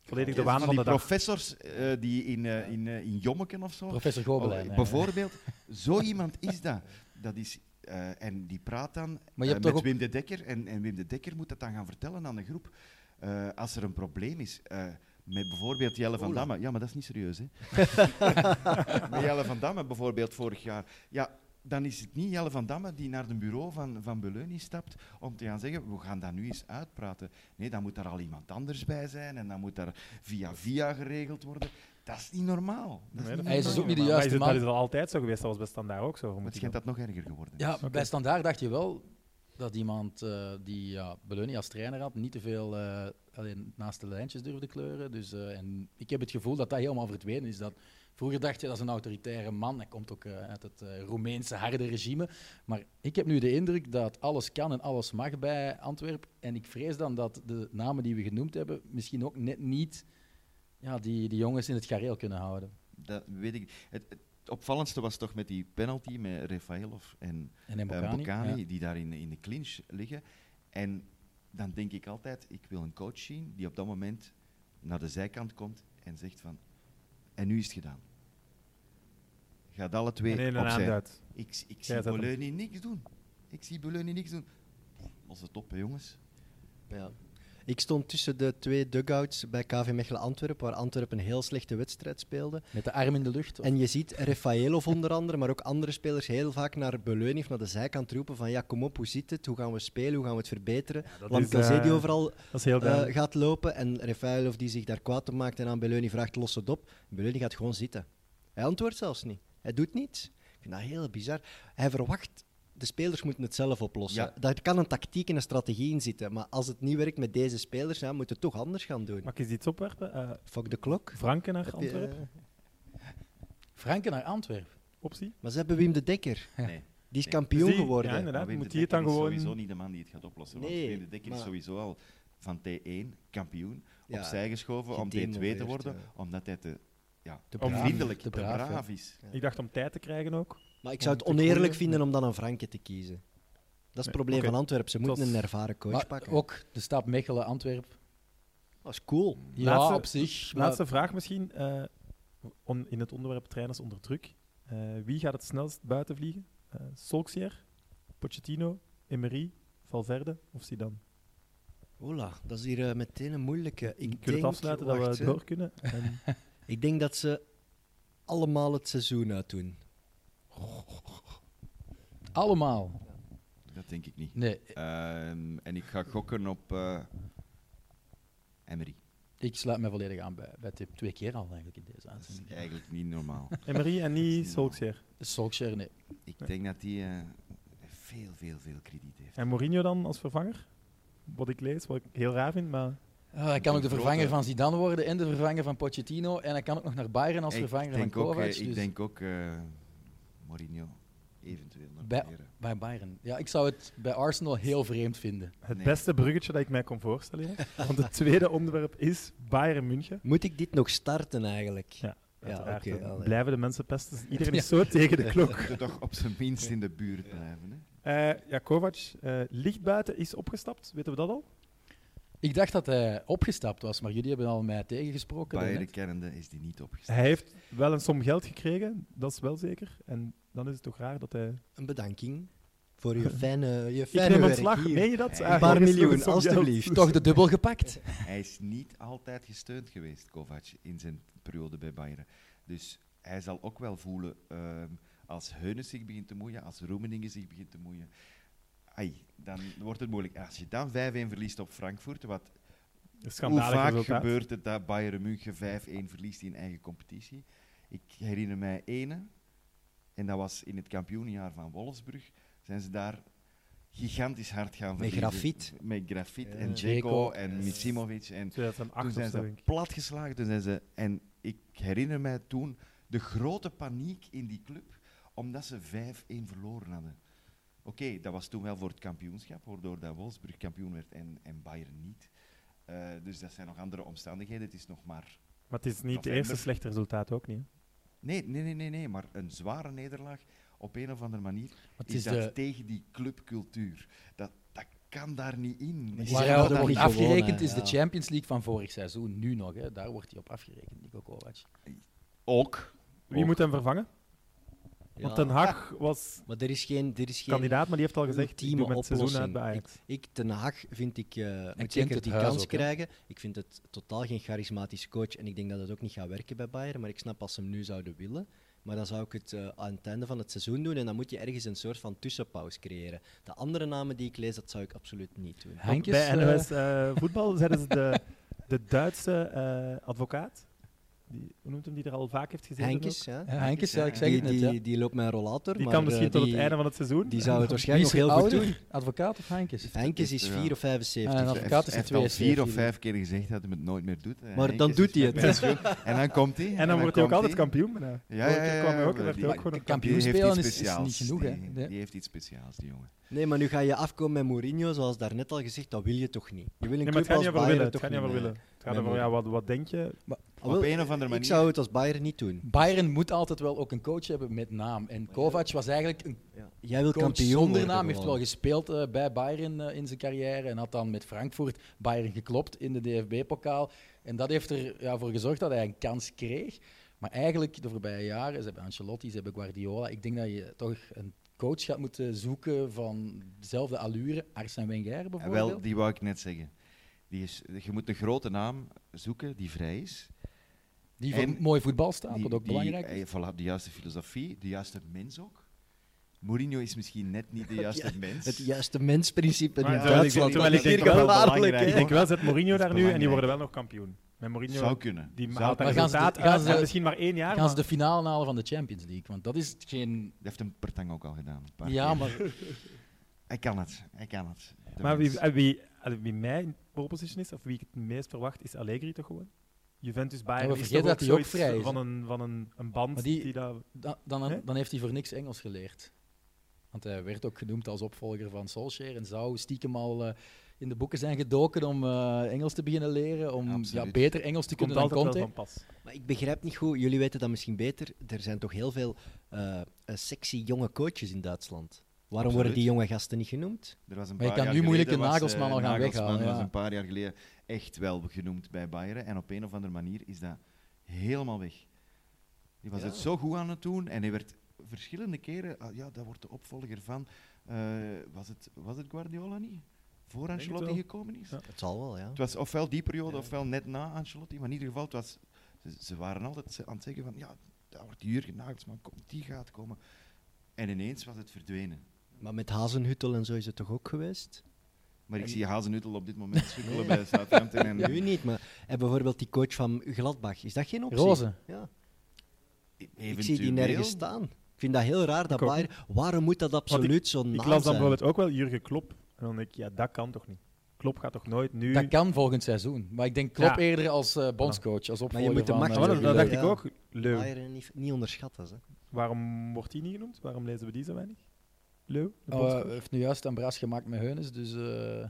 Speaker 2: Volledig de
Speaker 4: Kent
Speaker 2: waan
Speaker 4: van
Speaker 2: van
Speaker 4: die
Speaker 2: de dag.
Speaker 4: professors eh, die in, eh, in, eh, in Jommeken of zo.
Speaker 5: Professor Gobelijn.
Speaker 4: Oh,
Speaker 5: ja, ja.
Speaker 4: bijvoorbeeld, zo iemand is dat. dat is, eh, en die praat dan
Speaker 5: Maar je
Speaker 4: eh,
Speaker 5: hebt
Speaker 4: met
Speaker 5: toch ook-
Speaker 4: Wim de Dekker. En, en Wim de Dekker moet dat dan gaan vertellen aan de groep. eh, als er een probleem is. eh, met bijvoorbeeld Jelle van
Speaker 3: Oela.
Speaker 4: Damme. Ja, maar dat is niet serieus, hè? met Jelle van Damme bijvoorbeeld vorig jaar. Ja, dan is het niet Jelle van Damme die naar het bureau van, van Beleunie stapt om te gaan zeggen, we gaan dat nu eens uitpraten. Nee, dan moet daar al iemand anders bij zijn en dan moet daar via via geregeld worden. Dat is niet normaal. Dat
Speaker 2: Nee,
Speaker 4: niet
Speaker 2: dat
Speaker 5: Hij is
Speaker 4: normaal.
Speaker 5: dus ook niet de
Speaker 2: Maar
Speaker 5: juiste
Speaker 2: is het-
Speaker 5: man.
Speaker 2: Dat is al altijd zo geweest, dat was bij Standaard ook zo.
Speaker 4: Maar
Speaker 2: moet
Speaker 4: het
Speaker 2: ik
Speaker 4: schijnt dat nog erger geworden is.
Speaker 5: Ja,
Speaker 2: Oké.
Speaker 5: bij Standaard dacht je wel dat iemand eh, die ja, Beleunie als trainer had, niet te veel eh, alleen naast de lijntjes durfde kleuren. Dus, eh, en ik heb het gevoel dat dat helemaal verdwenen is. Dat, vroeger dacht je dat is een autoritaire man, hij komt ook eh, uit het eh, Roemeense harde regime. Maar ik heb nu de indruk dat alles kan en alles mag bij Antwerpen. En ik vrees dan dat de namen die we genoemd hebben misschien ook net niet ja, die, die jongens in het gareel kunnen houden.
Speaker 4: Dat weet ik. niet. Het, het opvallendste was toch met die penalty met Refailov en
Speaker 5: En in
Speaker 4: eh,
Speaker 5: Bocani,
Speaker 4: Bocani,
Speaker 5: ja.
Speaker 4: die daar in, in de clinch liggen. En dan denk ik altijd, ik wil een coach zien die op dat moment naar de zijkant komt en zegt van, en nu is het gedaan. Gaat alle twee
Speaker 2: Nee, een
Speaker 4: opzij.
Speaker 2: aanduid.
Speaker 4: Ik, ik
Speaker 2: Jij
Speaker 4: zie
Speaker 2: zet hem.
Speaker 4: Bologna niks doen. Ik zie Bologna niks doen. Als het top, hè, jongens.
Speaker 3: Ja. Ik stond tussen de twee dugouts bij KV Mechelen Antwerpen, waar Antwerpen een heel slechte wedstrijd speelde.
Speaker 5: Met de arm in de lucht. of-
Speaker 3: En je ziet Refaelov onder andere, maar ook andere spelers heel vaak naar Beleuning of naar de zijkant roepen van ja, kom op, hoe zit het? Hoe gaan we spelen? Hoe gaan we het verbeteren?
Speaker 2: dat
Speaker 3: Want
Speaker 2: is, eh,
Speaker 3: Calzedi overal
Speaker 2: Dat is heel
Speaker 3: eh,
Speaker 2: duidelijk.
Speaker 3: gaat lopen en Refaelov die zich daar kwaad op maakt en aan Beleuning vraagt los het op. Beleuning gaat gewoon zitten. Hij antwoordt zelfs niet. Hij doet niets. Ik vind dat heel bizar. Hij verwacht, de spelers moeten het zelf oplossen.
Speaker 4: Ja.
Speaker 3: Daar kan een tactiek en een strategie in zitten, maar als het niet werkt met deze spelers, ja, moet het toch anders gaan doen.
Speaker 2: Mag ik eens iets opwerpen? Eh
Speaker 3: Fuck de klok.
Speaker 2: Franken naar
Speaker 3: Heb je,
Speaker 2: Antwerpen,
Speaker 3: eh,
Speaker 5: Franken naar Antwerpen.
Speaker 2: optie.
Speaker 3: maar ze hebben Wim de Dekker.
Speaker 4: Nee.
Speaker 3: Die is
Speaker 4: Nee.
Speaker 3: kampioen
Speaker 2: Dus die-
Speaker 3: geworden.
Speaker 2: ja, inderdaad.
Speaker 4: Maar Wim
Speaker 2: moet
Speaker 4: de
Speaker 2: hij het
Speaker 4: Dekker
Speaker 2: dan
Speaker 4: is
Speaker 2: gewoon-
Speaker 4: sowieso niet de man die het gaat oplossen. Want
Speaker 3: Nee,
Speaker 4: Wim de Dekker is
Speaker 3: maar-
Speaker 4: sowieso al van T1 kampioen
Speaker 3: Ja,
Speaker 4: opzij geschoven om T2 te
Speaker 3: gedemoveerd,
Speaker 4: worden.
Speaker 3: ja.
Speaker 4: Omdat hij te ja,
Speaker 3: Te
Speaker 4: om
Speaker 2: braaf.
Speaker 4: vriendelijk, te
Speaker 5: Te
Speaker 4: braaf,
Speaker 5: braaf, ja.
Speaker 4: is.
Speaker 2: Ik dacht om tijd te krijgen ook.
Speaker 3: Maar ik
Speaker 2: Om
Speaker 3: zou het
Speaker 2: te
Speaker 3: oneerlijk
Speaker 2: groeien.
Speaker 3: vinden om dan een Franke te kiezen. Dat is het
Speaker 2: Nee,
Speaker 3: probleem
Speaker 2: oké.
Speaker 3: van Antwerpen. Ze
Speaker 2: Dat
Speaker 3: moeten
Speaker 2: is-
Speaker 3: een ervaren coach
Speaker 5: Maar
Speaker 3: pakken.
Speaker 5: ook de stap Mechelen-Antwerpen.
Speaker 3: Dat is cool.
Speaker 5: Ja,
Speaker 2: Laatste-
Speaker 5: op zich. maar-
Speaker 2: Laatste vraag misschien. eh, on- in het onderwerp trainers onder druk. Eh, wie gaat het snelst buiten vliegen? Eh Solskjaer, Pochettino, Emery, Valverde of Zidane?
Speaker 3: Ola, dat is hier eh, meteen een moeilijke. Ik
Speaker 2: Kunnen we
Speaker 3: denk,
Speaker 2: het afsluiten dat
Speaker 3: wacht,
Speaker 2: we
Speaker 3: hè.
Speaker 2: door kunnen? En
Speaker 3: Ik denk dat ze allemaal het seizoen uitdoen.
Speaker 5: Allemaal.
Speaker 4: Dat denk ik niet.
Speaker 5: Nee,
Speaker 4: Ehm, en ik ga gokken op eh, Emery.
Speaker 5: ik sluit me volledig aan bij, bij tip. Twee keer al eigenlijk in deze
Speaker 4: Dat is
Speaker 5: uitzending.
Speaker 4: eigenlijk niet normaal.
Speaker 2: Emery en niet Solskjaer.
Speaker 5: Solskjaer, nee.
Speaker 4: ik denk dat die eh, veel, veel, veel krediet heeft.
Speaker 2: En Mourinho dan als vervanger? Wat ik lees, wat ik heel raar vind, maar
Speaker 5: Ah, hij kan ook de
Speaker 4: grote-
Speaker 5: vervanger van Zidane worden en de vervanger van Pochettino. En hij kan ook nog naar Bayern als
Speaker 4: Ik
Speaker 5: vervanger van
Speaker 4: denk ook, eh,
Speaker 5: Kovac.
Speaker 4: Ik
Speaker 5: dus
Speaker 4: denk ook eh, Mourinho eventueel naar
Speaker 5: Bij-
Speaker 4: Bayern.
Speaker 5: Bij Bayern. Ja, ik zou het bij Arsenal heel vreemd vinden.
Speaker 2: het
Speaker 4: Nee.
Speaker 2: beste bruggetje dat ik mij kon voorstellen. ja. Want het tweede onderwerp is Bayern München.
Speaker 3: Moet ik dit nog starten eigenlijk?
Speaker 2: Ja. Uiteraard,
Speaker 3: oké,
Speaker 2: eh,
Speaker 3: allee.
Speaker 2: blijven de mensen pesten. Iedereen is zo tegen de klok.
Speaker 4: Moet er toch op zijn minst in de buurt blijven. Hè?
Speaker 2: Eh ja, Kovac, eh, ligt buiten, is opgestapt. Weten we dat al?
Speaker 5: Ik dacht dat hij opgestapt was, maar jullie hebben al mij tegengesproken.
Speaker 4: Bayern
Speaker 5: daarnet.
Speaker 4: kennende is die niet opgesteld.
Speaker 2: Hij heeft wel een som geld gekregen, dat is wel zeker. En dan is het toch raar dat hij...
Speaker 3: Een bedanking voor je fijne, je
Speaker 2: Ik
Speaker 3: fijne
Speaker 2: neem
Speaker 3: werk
Speaker 2: ontslag,
Speaker 3: hier.
Speaker 2: meen je dat?
Speaker 4: Een
Speaker 2: Ah,
Speaker 3: Een paar
Speaker 2: hier is nog
Speaker 3: miljoen,
Speaker 2: een som
Speaker 3: alstublieft.
Speaker 2: geld.
Speaker 5: Toch de dubbel gepakt.
Speaker 4: Hij is niet altijd gesteund geweest, Kovac, in zijn periode bij Bayern. Dus hij zal ook wel voelen ehm, als Heunes zich begint te moeien, als Roemeningen zich begint te moeien. Ai, dan wordt het moeilijk. Als je dan 5-1 verliest op Frankfurt, wat,
Speaker 2: Een
Speaker 4: hoe
Speaker 2: Schandalig
Speaker 4: vaak
Speaker 2: resultaat.
Speaker 4: gebeurt het dat Bayern München 5-1 verliest in eigen competitie? Ik herinner mij ene, en dat was in het kampioenjaar van Wolfsburg, zijn ze daar gigantisch hard gaan
Speaker 3: Met
Speaker 4: verliezen.
Speaker 3: grafiet.
Speaker 4: Met grafiet en
Speaker 3: Ja.
Speaker 4: Dzeko
Speaker 5: Dzeko.
Speaker 4: en Mitsimovic en
Speaker 2: 2008
Speaker 4: toen
Speaker 2: of
Speaker 4: zijn
Speaker 2: zo,
Speaker 4: ze
Speaker 2: denk ik.
Speaker 4: platgeslagen. Toen zijn ze, en ik herinner mij toen de grote paniek in die club, omdat ze 5-1 verloren hadden. Oké, dat was toen wel voor het kampioenschap, waardoor dat Wolfsburg kampioen werd en, en Bayern niet. Eh, dus dat zijn nog andere omstandigheden. Het is nog maar...
Speaker 2: Maar het is niet het
Speaker 4: November.
Speaker 2: eerste slechte resultaat ook niet. hè.
Speaker 4: Nee, nee, nee, nee, nee, maar een zware nederlaag op een of andere manier
Speaker 5: Het
Speaker 4: is
Speaker 5: is
Speaker 4: dat
Speaker 5: de,
Speaker 4: tegen die clubcultuur. Dat, dat kan daar niet in.
Speaker 3: Die
Speaker 4: Waar
Speaker 3: zijn
Speaker 5: Waar
Speaker 4: gaat
Speaker 3: dat
Speaker 5: er
Speaker 3: ook
Speaker 4: daar
Speaker 5: wordt
Speaker 4: niet
Speaker 3: niet gewonnen,
Speaker 5: afgerekend is
Speaker 3: ja.
Speaker 5: de Champions League van vorig seizoen, nu nog. Hè. Daar wordt hij op afgerekend, Nico Kovac.
Speaker 4: Ook.
Speaker 2: Wie
Speaker 4: Ook.
Speaker 2: moet hem vervangen?
Speaker 3: Ja.
Speaker 2: Want Den Haag was
Speaker 3: Maar er is geen, er is geen
Speaker 2: kandidaat, maar die heeft al gezegd, die
Speaker 3: ultieme
Speaker 2: doet met het seizoen
Speaker 3: oplossing.
Speaker 2: uit bij Ajax.
Speaker 3: Ik, Ten Haag vind ik, eh, moet
Speaker 5: kent
Speaker 3: zeker
Speaker 5: het
Speaker 3: die
Speaker 5: huis
Speaker 3: kans
Speaker 5: ook, hè?
Speaker 3: krijgen. Ik vind het totaal geen charismatische coach en ik denk dat het ook niet gaat werken bij Bayern. Maar ik snap als ze hem nu zouden willen. Maar dan zou ik het eh, aan het einde van het seizoen doen en dan moet je ergens een soort van tussenpauze creëren. De andere namen die ik lees, dat zou ik absoluut niet doen.
Speaker 5: Henk is,
Speaker 2: bij
Speaker 5: eh,
Speaker 2: NOS eh, voetbal zeiden ze de, de Duitse eh, advocaat, die, hoe noemt hem, die er al vaak heeft gezeten.
Speaker 3: Henkes, ja.
Speaker 5: Ja, Henk is, ja, ik zeg
Speaker 3: Die,
Speaker 5: het net.
Speaker 3: die,
Speaker 5: ja.
Speaker 3: die loopt met een rollator.
Speaker 2: Die
Speaker 3: maar,
Speaker 2: kan
Speaker 3: eh,
Speaker 2: misschien tot
Speaker 3: die-
Speaker 2: het einde van het seizoen.
Speaker 3: Die zou het
Speaker 5: Wie is
Speaker 3: waarschijnlijk
Speaker 5: er
Speaker 3: nog heel goed
Speaker 5: ouder?
Speaker 3: doen.
Speaker 5: Advocaat of Henk is?
Speaker 3: Henk is
Speaker 4: Ja.
Speaker 3: 4 of
Speaker 5: Ah, en
Speaker 3: 75.
Speaker 5: dan-
Speaker 4: Hij heeft-
Speaker 5: Advocaat is
Speaker 4: hij heeft
Speaker 5: een
Speaker 4: al vier of
Speaker 5: 72.
Speaker 4: vijf keer gezegd dat hij het nooit meer doet.
Speaker 3: Maar
Speaker 4: Henk
Speaker 3: dan
Speaker 4: is dus
Speaker 3: doet hij
Speaker 4: met
Speaker 3: het.
Speaker 4: mijn schoen. En dan komt hij.
Speaker 2: En dan wordt hij ook
Speaker 4: komt
Speaker 2: altijd kampioen. bijna.
Speaker 4: Ja, ja, ja,
Speaker 2: Vorige keer kwam hij
Speaker 4: ja,
Speaker 2: ook en
Speaker 4: maar
Speaker 2: werd hij
Speaker 4: die-
Speaker 2: ook gewoon een
Speaker 5: kampioen
Speaker 4: die heeft
Speaker 5: spelen
Speaker 4: iets
Speaker 5: is- is niet
Speaker 4: speciaals.
Speaker 5: genoeg, hè.
Speaker 4: Die,
Speaker 5: Nee.
Speaker 4: die heeft iets speciaals, die jongen.
Speaker 3: Nee, maar nu ga je afkomen met Mourinho, zoals daarnet al gezegd. Dat wil je toch niet? Je wil
Speaker 2: Nee,
Speaker 3: een
Speaker 2: maar
Speaker 3: club
Speaker 2: het gaat
Speaker 3: als
Speaker 2: niet over
Speaker 3: Bayern
Speaker 2: willen. Het
Speaker 3: toch
Speaker 2: gaat niet over
Speaker 3: eh,
Speaker 2: willen. Het gaat
Speaker 3: met
Speaker 2: over, ja,
Speaker 3: Mourinho.
Speaker 2: wat, wat denk je?
Speaker 3: Ah, wel,
Speaker 4: Op een of andere manier.
Speaker 3: Ik zou het als Bayern niet doen.
Speaker 5: Bayern moet altijd wel ook een coach hebben met naam. En Kovac was eigenlijk een
Speaker 3: Jij wil
Speaker 5: coach
Speaker 3: kampioen
Speaker 5: zonder
Speaker 3: worden
Speaker 5: naam. heeft
Speaker 3: gewoon.
Speaker 5: wel gespeeld eh, bij Bayern eh, in zijn carrière. En had dan met Frankfurt Bayern geklopt in de DFB-pokaal. En dat heeft ervoor ja, voor gezorgd dat hij een kans kreeg. Maar eigenlijk de voorbije jaren, ze hebben Ancelotti, ze hebben Guardiola. Ik denk dat je toch een coach gaat moeten zoeken van dezelfde allure. Arsène Wenger
Speaker 4: Eh,
Speaker 5: bijvoorbeeld.
Speaker 4: Wel, die wou ik net zeggen. Die is, je moet een grote naam zoeken die vrij is.
Speaker 5: die voor
Speaker 4: en-
Speaker 5: mooi voetbal staat, wat ook
Speaker 4: die,
Speaker 5: belangrijk is.
Speaker 4: eh, voilà, de juiste filosofie, de juiste mens ook. Mourinho is misschien net niet de juiste mens.
Speaker 3: Het juiste mensprincipe in
Speaker 2: Maar terwijl ik-
Speaker 3: Duitsland.
Speaker 2: terwijl
Speaker 3: dat
Speaker 2: ik
Speaker 3: is
Speaker 2: denk
Speaker 3: hier
Speaker 2: wel
Speaker 3: gevaarlijk,
Speaker 4: belangrijk,
Speaker 3: hè?
Speaker 2: Ik denk wel, zet Mourinho
Speaker 4: Dat is
Speaker 2: daar nu en die
Speaker 4: belangrijk.
Speaker 2: worden wel nog kampioen. Met Mourinho,
Speaker 4: Zou kunnen.
Speaker 2: die
Speaker 4: Zou
Speaker 2: haalt daar
Speaker 5: Maar gaan ze
Speaker 2: resultaat
Speaker 5: de-
Speaker 2: uit.
Speaker 5: gaan ze-
Speaker 2: en misschien maar één jaar.
Speaker 5: Gaan ze
Speaker 2: maar-
Speaker 5: de finale halen van de Champions League? Want dat is geen...
Speaker 4: Dat heeft hem Pertang ook al gedaan. een paar
Speaker 5: Ja,
Speaker 4: keer.
Speaker 5: maar
Speaker 4: Hij kan het. Hij kan het. De
Speaker 2: Maar wie,
Speaker 4: mens.
Speaker 2: eh, wie, eh, wie mij in pole position is, of wie ik het meest verwacht, is Allegri toch gewoon? Juventus Bayern
Speaker 5: Ja, we
Speaker 2: is toch
Speaker 5: vergeten
Speaker 2: ook
Speaker 5: dat die ook
Speaker 2: zoiets
Speaker 5: vrij is, hè?
Speaker 2: van, een, van een, een
Speaker 5: Maar
Speaker 2: band
Speaker 5: die-
Speaker 2: die, daar...
Speaker 5: Da- dan, dan,
Speaker 2: Hè?
Speaker 5: dan heeft hij voor niks Engels geleerd. Want hij werd ook genoemd als opvolger van Solskjaer en zou stiekem al eh, in de boeken zijn gedoken om eh, Engels te beginnen leren, om
Speaker 4: Absoluut.
Speaker 5: ja, beter Engels te
Speaker 2: komt
Speaker 5: kunnen dan
Speaker 2: altijd wel
Speaker 5: Conte.
Speaker 2: van pas.
Speaker 3: Maar ik begrijp niet goed, jullie weten dat misschien beter. Er zijn toch heel veel eh, eh, sexy jonge coaches in Duitsland. Waarom worden die jonge gasten niet genoemd?
Speaker 4: Er was een
Speaker 5: Maar je
Speaker 4: paar
Speaker 5: kan
Speaker 4: jaar
Speaker 5: nu moeilijk
Speaker 4: geleden
Speaker 5: de
Speaker 4: was, eh,
Speaker 5: Nagelsman al gaan
Speaker 4: Nagelsman
Speaker 5: weghalen,
Speaker 4: was
Speaker 5: ja.
Speaker 4: een paar jaar geleden echt wel genoemd bij Bayern. En op een of andere manier is dat helemaal weg. Die was
Speaker 3: Ja.
Speaker 4: het zo goed aan het doen en hij werd verschillende keren... ah, ja, dat wordt de opvolger van... eh, was, het, was het Guardiola niet? Voor
Speaker 2: denk het
Speaker 4: Ancelotti
Speaker 2: wel.
Speaker 4: gekomen is?
Speaker 2: Ja.
Speaker 3: Het zal wel, ja.
Speaker 4: Het was ofwel die periode,
Speaker 2: Ja.
Speaker 4: ofwel net na Ancelotti. Maar in ieder geval, het was, ze, ze waren altijd ze- aan het zeggen van... Ja, daar wordt Jurgen Nagelsman, kom- die gaat komen. En ineens was het verdwenen.
Speaker 3: Maar met Hazenhuttel en zo is het toch ook geweest?
Speaker 4: Maar ik
Speaker 3: En-
Speaker 4: zie Hazenhutel op dit moment sukkelen
Speaker 3: Nee.
Speaker 4: bij Southampton. En,
Speaker 3: Nu niet, maar en bijvoorbeeld die coach van Gladbach, is dat geen optie?
Speaker 5: Roze.
Speaker 3: Ja. Ik zie
Speaker 4: Eventueel.
Speaker 3: die nergens staan. Ik vind dat heel raar dat
Speaker 2: Ik ook
Speaker 3: Bayern. Waarom moet dat absoluut zo'n
Speaker 2: Ik
Speaker 3: naam
Speaker 2: las dan
Speaker 3: zijn?
Speaker 2: bijvoorbeeld ook wel Jurgen Klopp. En dan denk ik, ja, dat kan toch niet? Klopp gaat toch nooit nu...
Speaker 5: Dat kan volgend seizoen. Maar ik denk Klopp
Speaker 2: Ja.
Speaker 5: eerder als eh, bondscoach, als opvolger
Speaker 3: moet de
Speaker 5: van,
Speaker 3: macht
Speaker 5: eh,
Speaker 2: Nou, dat, dat
Speaker 5: Jurgen
Speaker 2: dacht
Speaker 5: Klopp.
Speaker 2: ik ook. Leu.
Speaker 3: Bayern niet, niet onderschatten. Hè.
Speaker 2: Waarom wordt die niet genoemd? Waarom lezen we die zo weinig? Leu, de
Speaker 5: Oh,
Speaker 2: bondscoach?
Speaker 5: eh, heeft nu juist een braas gemaakt met Heunes, dus eh,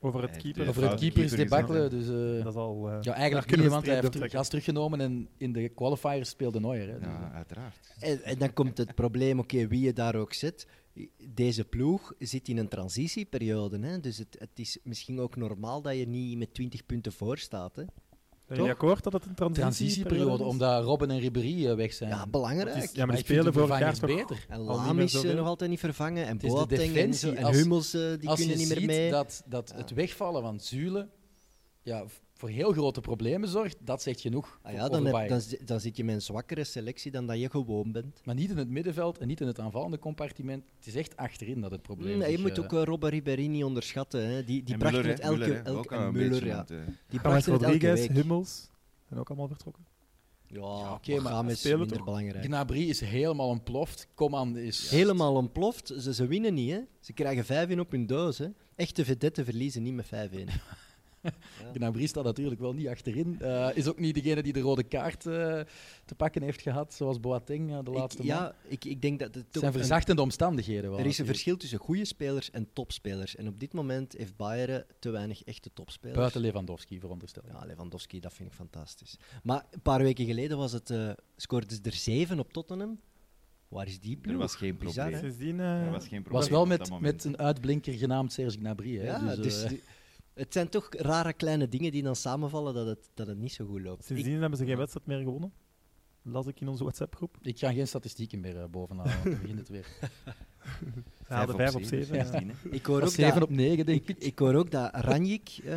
Speaker 2: over
Speaker 4: eh,
Speaker 2: het keeper.
Speaker 4: de
Speaker 5: over het
Speaker 4: fout.
Speaker 5: keepers debakkelen.
Speaker 4: Keeper
Speaker 5: Dus, eh,
Speaker 2: Dat is al... eh,
Speaker 5: ja,
Speaker 2: daar
Speaker 5: eigenlijk
Speaker 2: kunnen
Speaker 5: niet,
Speaker 2: we
Speaker 5: want hij
Speaker 2: een
Speaker 5: heeft
Speaker 2: streep
Speaker 5: terug-
Speaker 2: door
Speaker 5: gas teruggenomen en in de qualifiers speelde Neuer. Hè, dus, eh.
Speaker 4: Ja, uiteraard.
Speaker 3: En, en dan komt het probleem, oké, wie je daar ook zet. Deze ploeg zit in een transitieperiode. Hè? Dus het, het is misschien ook normaal dat je niet met 20 punten voor staat. Hè?
Speaker 2: Zijn jullie
Speaker 5: Toch?
Speaker 2: akkoord dat het een
Speaker 5: transitieperiode,
Speaker 2: transitieperiode is?
Speaker 5: omdat Robben en Ribéry eh, weg zijn.
Speaker 3: Ja,
Speaker 2: Het is-
Speaker 3: belangrijk.
Speaker 2: Ja,
Speaker 5: Maar
Speaker 2: maar die
Speaker 5: ik vind
Speaker 2: spelen
Speaker 5: de
Speaker 2: vorig jaar
Speaker 5: vervangers
Speaker 2: toch
Speaker 5: beter.
Speaker 3: En
Speaker 2: al niet
Speaker 3: Laam
Speaker 2: meer
Speaker 3: is eh,
Speaker 2: zoveel.
Speaker 3: nog altijd niet vervangen. En
Speaker 5: Het is de
Speaker 3: Boateng en, zo,
Speaker 5: defensie.
Speaker 3: en
Speaker 5: Als-
Speaker 3: Hummels, eh, die
Speaker 5: Als
Speaker 3: kunnen
Speaker 5: je
Speaker 3: niet meer
Speaker 5: ziet
Speaker 3: mee.
Speaker 5: dat, dat het wegvallen van Zule ja, v- voor heel grote problemen zorgt, dat zegt genoeg. voor-
Speaker 3: Ah ja,
Speaker 5: over
Speaker 3: dan, heb,
Speaker 5: Bayern.
Speaker 3: dan, zi- dan zit je met een zwakkere selectie dan dat je gewoon bent.
Speaker 5: Maar niet in het middenveld en niet in het aanvallende compartiment. Het is echt achterin dat het probleem
Speaker 3: Mm,
Speaker 5: is.
Speaker 3: je moet ook eh, Robben Ribéry niet onderschatten. Hè. Die, die
Speaker 4: En
Speaker 3: brachten
Speaker 4: Müller,
Speaker 3: het
Speaker 4: hè.
Speaker 3: elke...
Speaker 4: Müller, hè.
Speaker 3: elke
Speaker 4: Ook al
Speaker 3: en
Speaker 4: een
Speaker 3: Müller,
Speaker 4: beetje
Speaker 3: ja.
Speaker 4: want, eh,
Speaker 2: Thomas
Speaker 3: Die brachten het elke
Speaker 2: Rodriguez,
Speaker 3: week.
Speaker 2: Hummels, zijn ook allemaal vertrokken.
Speaker 3: Ja,
Speaker 5: oké,
Speaker 3: maar
Speaker 5: maar
Speaker 3: Gaam is
Speaker 2: spelen
Speaker 3: minder
Speaker 2: toch?
Speaker 3: belangrijk.
Speaker 5: Gnabry is helemaal ontploft. Coman is...
Speaker 3: Helemaal ontploft. Ze, ze winnen niet, hè. Ze krijgen 5 in op hun doos, hè. Echte vedetten verliezen niet met 5 in.
Speaker 5: Gnabry staat natuurlijk wel niet achterin. Eh, is ook niet degene die de rode kaart eh, te pakken heeft gehad, zoals Boateng eh, de laatste maand.
Speaker 3: ja, ik, ik denk dat... Het
Speaker 5: Het
Speaker 3: toch
Speaker 5: zijn
Speaker 3: een-
Speaker 5: verzachtende omstandigheden wel.
Speaker 3: er is een
Speaker 5: natuurlijk.
Speaker 3: verschil tussen goede spelers en topspelers. En op dit moment heeft Bayern te weinig echte topspelers.
Speaker 5: Buiten Lewandowski, veronderstel ik.
Speaker 3: Ja, Lewandowski, dat vind ik fantastisch. Maar een paar weken geleden was het, eh scoorde ze er 7 op Tottenham. Waar is die ploeg?
Speaker 4: Er was geen
Speaker 3: Bizar,
Speaker 4: probleem.
Speaker 3: hè?
Speaker 2: Sindsdien...
Speaker 4: Er
Speaker 2: eh
Speaker 4: was geen probleem.
Speaker 5: was wel
Speaker 4: op dat
Speaker 5: met,
Speaker 4: moment.
Speaker 5: met een uitblinker genaamd Serge Gnabry. Hè?
Speaker 3: Ja,
Speaker 5: eh,
Speaker 3: dus die- het zijn toch rare kleine dingen die dan samenvallen dat het, dat het niet zo goed loopt. Ik-
Speaker 2: Sindsdien hebben ze geen wedstrijd meer gewonnen. Las ik in onze WhatsApp-groep.
Speaker 5: ik ga geen statistieken meer eh, bovenaan. want Dan begint het weer.
Speaker 2: Ze hadden 5 op
Speaker 4: zeven,
Speaker 2: 7.
Speaker 4: sindsdien, hè.
Speaker 3: ik hoor ook
Speaker 5: 7
Speaker 3: dat-
Speaker 5: op 9, denk ik.
Speaker 3: Ik hoor ook dat Ranjik eh,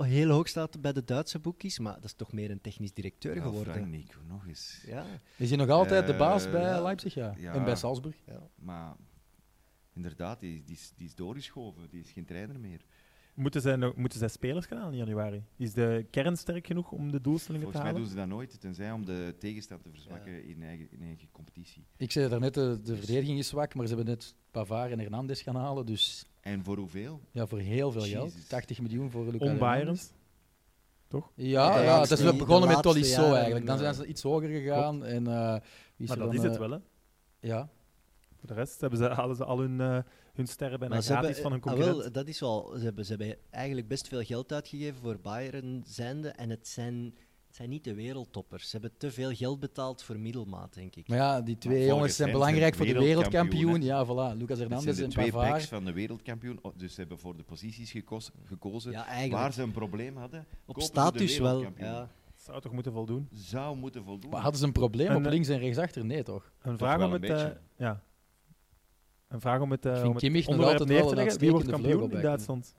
Speaker 3: heel hoog staat bij de Duitse boekjes, maar dat is toch meer een technisch directeur
Speaker 4: Ja, Frank
Speaker 3: geworden.
Speaker 4: Nico, nog eens.
Speaker 3: Ja,
Speaker 5: Is hij nog altijd de baas bij
Speaker 4: Eh,
Speaker 5: Leipzig? Ja.
Speaker 4: ja.
Speaker 5: En bij Salzburg?
Speaker 4: Maar inderdaad, die, die, is- die is doorgeschoven. Die is geen trainer meer.
Speaker 2: Moeten zij, nog- moeten zij spelers gaan halen in januari? Is de kern sterk genoeg om de doelstellingen
Speaker 4: Volgens
Speaker 2: te
Speaker 4: mij
Speaker 2: halen?
Speaker 4: doen ze dat nooit, tenzij om de tegenstand te verzwakken in, eigen, in eigen competitie.
Speaker 5: Ik zei daarnet, de, de verdediging is zwak, maar ze hebben net Pavard en Hernandez gaan halen. Dus
Speaker 4: En voor hoeveel?
Speaker 5: ja, voor heel veel
Speaker 4: Jezus.
Speaker 5: geld. 80 miljoen voor Lucas Hernandez.
Speaker 2: Onbairens?
Speaker 5: Ja,
Speaker 3: De
Speaker 5: ja,
Speaker 3: laatste-
Speaker 5: dus we
Speaker 3: de
Speaker 5: begonnen met
Speaker 3: laatste
Speaker 5: Tolisso
Speaker 3: jaren,
Speaker 5: eigenlijk. Dan
Speaker 3: eh,
Speaker 5: zijn ze iets hoger gegaan. En, eh, wie is
Speaker 2: Maar
Speaker 5: er
Speaker 2: dat
Speaker 5: dan,
Speaker 2: is het
Speaker 5: eh,
Speaker 2: wel, hè.
Speaker 5: Ja,
Speaker 2: Voor de rest hebben ze, halen ze al hun, eh, hun sterren bijna
Speaker 3: maar ze
Speaker 2: gratis
Speaker 3: hebben,
Speaker 2: van hun
Speaker 3: ah,
Speaker 2: concurrent.
Speaker 3: wel, dat is wel, ze, hebben, ze hebben eigenlijk best veel geld uitgegeven voor Bayern zijnde en het zijn, het zijn niet de wereldtoppers. Ze hebben te veel geld betaald voor middelmaat, denk ik.
Speaker 5: maar ja, die twee
Speaker 4: volgens
Speaker 5: jongens zijn
Speaker 4: hen
Speaker 5: belangrijk voor
Speaker 4: zijn
Speaker 5: de
Speaker 4: het
Speaker 5: wereldkampioen. Ja,
Speaker 4: wereldkampioen,
Speaker 5: voilà. Lucas
Speaker 4: Dat
Speaker 5: Hernandez
Speaker 4: zijn de
Speaker 5: en
Speaker 4: twee backs
Speaker 5: Pavard.
Speaker 4: van de wereldkampioen. Oh, Dus ze hebben voor de posities gekos- gekozen
Speaker 3: Ja, eigenlijk.
Speaker 4: waar ze een probleem hadden.
Speaker 3: Op
Speaker 4: kopen ze de
Speaker 3: status wel.
Speaker 4: wereldkampioen.
Speaker 3: Ja.
Speaker 2: Zou toch moeten voldoen?
Speaker 4: Zou moeten voldoen.
Speaker 5: Maar hadden ze een probleem
Speaker 2: En,
Speaker 5: op
Speaker 2: eh,
Speaker 5: links en rechtsachter? Nee, toch?
Speaker 2: Een vraag
Speaker 4: wel
Speaker 2: om
Speaker 4: een
Speaker 2: het... eh,
Speaker 4: beetje.
Speaker 2: ja. Een vraag om het, eh,
Speaker 5: Ik vind
Speaker 2: om het
Speaker 5: Kimmich nog
Speaker 2: onderwerp
Speaker 5: altijd
Speaker 2: neer
Speaker 5: wel
Speaker 2: te
Speaker 5: een
Speaker 2: leggen. Wie wordt
Speaker 5: uitstekende
Speaker 2: kampioen in
Speaker 5: vleugelback, hè.
Speaker 2: Duitsland?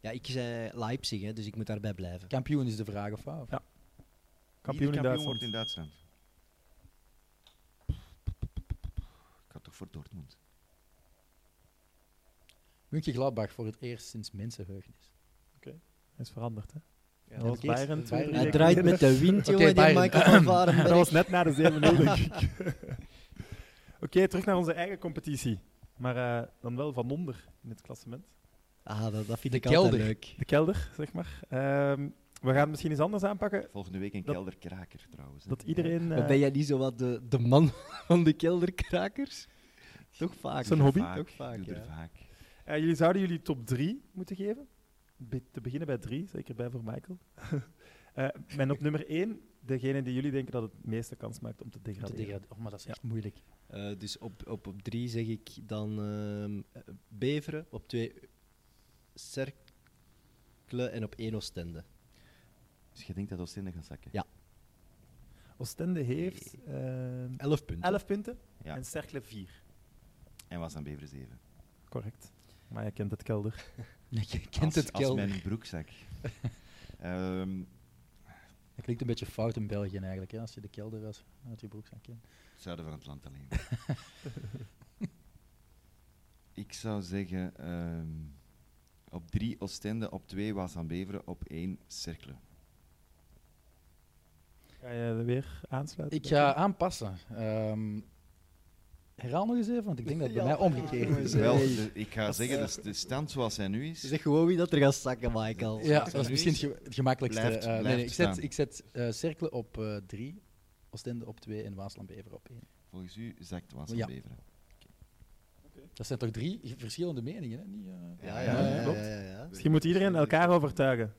Speaker 3: ja, ik zei Leipzig, hè, dus ik moet daarbij blijven.
Speaker 5: Kampioen is de vraag, of wat?
Speaker 2: Ja.
Speaker 4: Wie de
Speaker 2: Kampioen in Duitsland.
Speaker 4: wordt in Duitsland. Ik had toch voor Dortmund.
Speaker 5: München Gladbach voor het eerst sinds mensenheugenis.
Speaker 2: Dat is veranderd, hè.
Speaker 3: Ja,
Speaker 2: dat was
Speaker 5: heb ik eerst-
Speaker 2: Bayern twee,
Speaker 5: Bayern.
Speaker 2: drie
Speaker 3: Hij
Speaker 5: Hij
Speaker 2: weken
Speaker 3: draait
Speaker 2: geleden.
Speaker 3: met de wind, jongen,
Speaker 5: jongen, die
Speaker 3: die
Speaker 5: Bayern.
Speaker 3: Michael
Speaker 5: Michael
Speaker 3: van
Speaker 2: Dat was net na de 7-0, denk ik. Oké, terug naar onze eigen competitie. Maar eh, dan wel van onder in het klassement.
Speaker 3: Ah, dat, dat vind ik
Speaker 5: kelder.
Speaker 3: altijd leuk.
Speaker 2: De kelder, zeg maar. Ehm, we gaan het misschien eens anders aanpakken.
Speaker 4: Volgende week een
Speaker 2: Dat-
Speaker 4: kelderkraker trouwens. hè.
Speaker 2: Dat iedereen... eh,
Speaker 3: Maar ben jij niet zo wat de, de man van de kelderkrakers? Toch vaak.
Speaker 2: Zo'n
Speaker 4: Doe er
Speaker 2: hobby?
Speaker 4: vaak,
Speaker 3: Ook vaak,
Speaker 4: doe er
Speaker 3: ja.
Speaker 4: vaak.
Speaker 2: eh, jullie zouden jullie top 3 moeten geven. Be- te beginnen bij 3, zeker bij voor Michael. Eh en op nummer 1, degene die jullie denken dat het meeste kans maakt om te
Speaker 5: Om te
Speaker 2: degraderen.
Speaker 5: degraderen. Oh, maar dat is echt moeilijk.
Speaker 3: Eh, dus op, op, op drie zeg ik dan ehm, eh, Beveren, op twee Cercle en op één Oostende.
Speaker 4: Dus je denkt dat Oostende gaat zakken?
Speaker 3: Ja.
Speaker 2: Oostende heeft ehm,
Speaker 3: Elf punten.
Speaker 2: 11 punten
Speaker 4: Ja.
Speaker 2: en Cercle 4.
Speaker 4: En was dan Beveren 7.
Speaker 2: Correct. Maar je kent het kelder.
Speaker 5: Je kent
Speaker 4: als,
Speaker 5: het
Speaker 4: als
Speaker 5: kelder.
Speaker 4: mijn broekzak. Ehm
Speaker 5: Dat klinkt een beetje fout in België eigenlijk, hè, als je de kelder was uit je broekzak kent.
Speaker 4: zuiden van het land alleen. Ik zou zeggen ehm, op 3 Oostende, op 2 was aan Beveren, op 1 Cercle.
Speaker 2: Ga je er weer aansluiten?
Speaker 5: Ik ga aanpassen. Ehm, herhaal nog eens even, want ik denk dat het bij
Speaker 3: Ja.
Speaker 5: mij omgekeerd is.
Speaker 3: Nee.
Speaker 4: Wel, de- ik ga zeggen, de, de stand zoals hij nu is,
Speaker 3: Zeg gewoon wie dat er gaat zakken, Michael.
Speaker 5: Ja,
Speaker 4: Zoals
Speaker 5: dat is
Speaker 4: nu
Speaker 5: misschien
Speaker 4: is.
Speaker 5: het ge- het gemakkelijkste.
Speaker 4: Blijft-
Speaker 5: Eh, nee,
Speaker 4: blijft
Speaker 5: nee, ik zet,
Speaker 4: staan.
Speaker 5: ik zet eh, Cercle op 3, Oostende op 2 en Waasland-Bever op 1.
Speaker 4: volgens u, zakt was aan
Speaker 5: Ja.
Speaker 4: Beveren.
Speaker 5: Dat zijn toch drie verschillende meningen, hè? Niet, eh,
Speaker 4: Ja,
Speaker 3: ja, ja,
Speaker 2: klopt.
Speaker 3: ja, ja.
Speaker 2: Misschien moet iedereen elkaar overtuigen.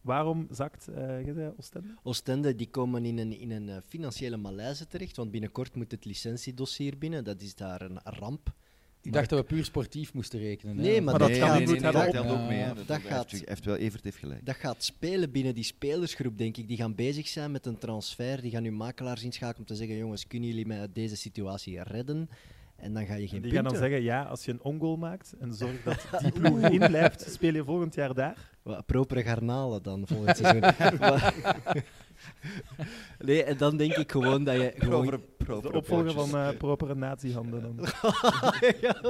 Speaker 2: Waarom zakt eh, je zei Oostende?
Speaker 3: Oostende die komen in een, in een eh, financiële malaise terecht, want binnenkort moet het licentiedossier binnen. Dat is daar een ramp.
Speaker 5: Ik dacht dat we puur sportief moesten rekenen. hè,
Speaker 3: Nee,
Speaker 5: want-
Speaker 3: maar dat
Speaker 2: kan
Speaker 3: gaat
Speaker 2: niet goed hebben
Speaker 4: dat
Speaker 2: op-
Speaker 4: telt ook mee.
Speaker 5: Ja,
Speaker 4: hè.
Speaker 3: dat
Speaker 4: heeft-
Speaker 3: gaat-
Speaker 4: heeft, wel Evert heeft gelijk.
Speaker 3: Dat gaat spelen binnen die spelersgroep, denk ik. Die gaan bezig zijn met een transfer. Die gaan hun makelaars inschakelen om te zeggen: jongens, kunnen jullie mij uit deze situatie redden? En dan ga je geen
Speaker 2: Die gaan
Speaker 3: punten.
Speaker 2: dan zeggen, ja, als je een ongoal maakt en zorgt dat die ploeg erin blijft, speel je volgend jaar daar.
Speaker 3: Wat, propere garnalen dan volgend seizoen. Maar- nee, en dan denk ik gewoon dat je. Gewoon...
Speaker 2: Dat is de Eh, opvolger van eh propere nazi-handen. Dan.
Speaker 3: Ja,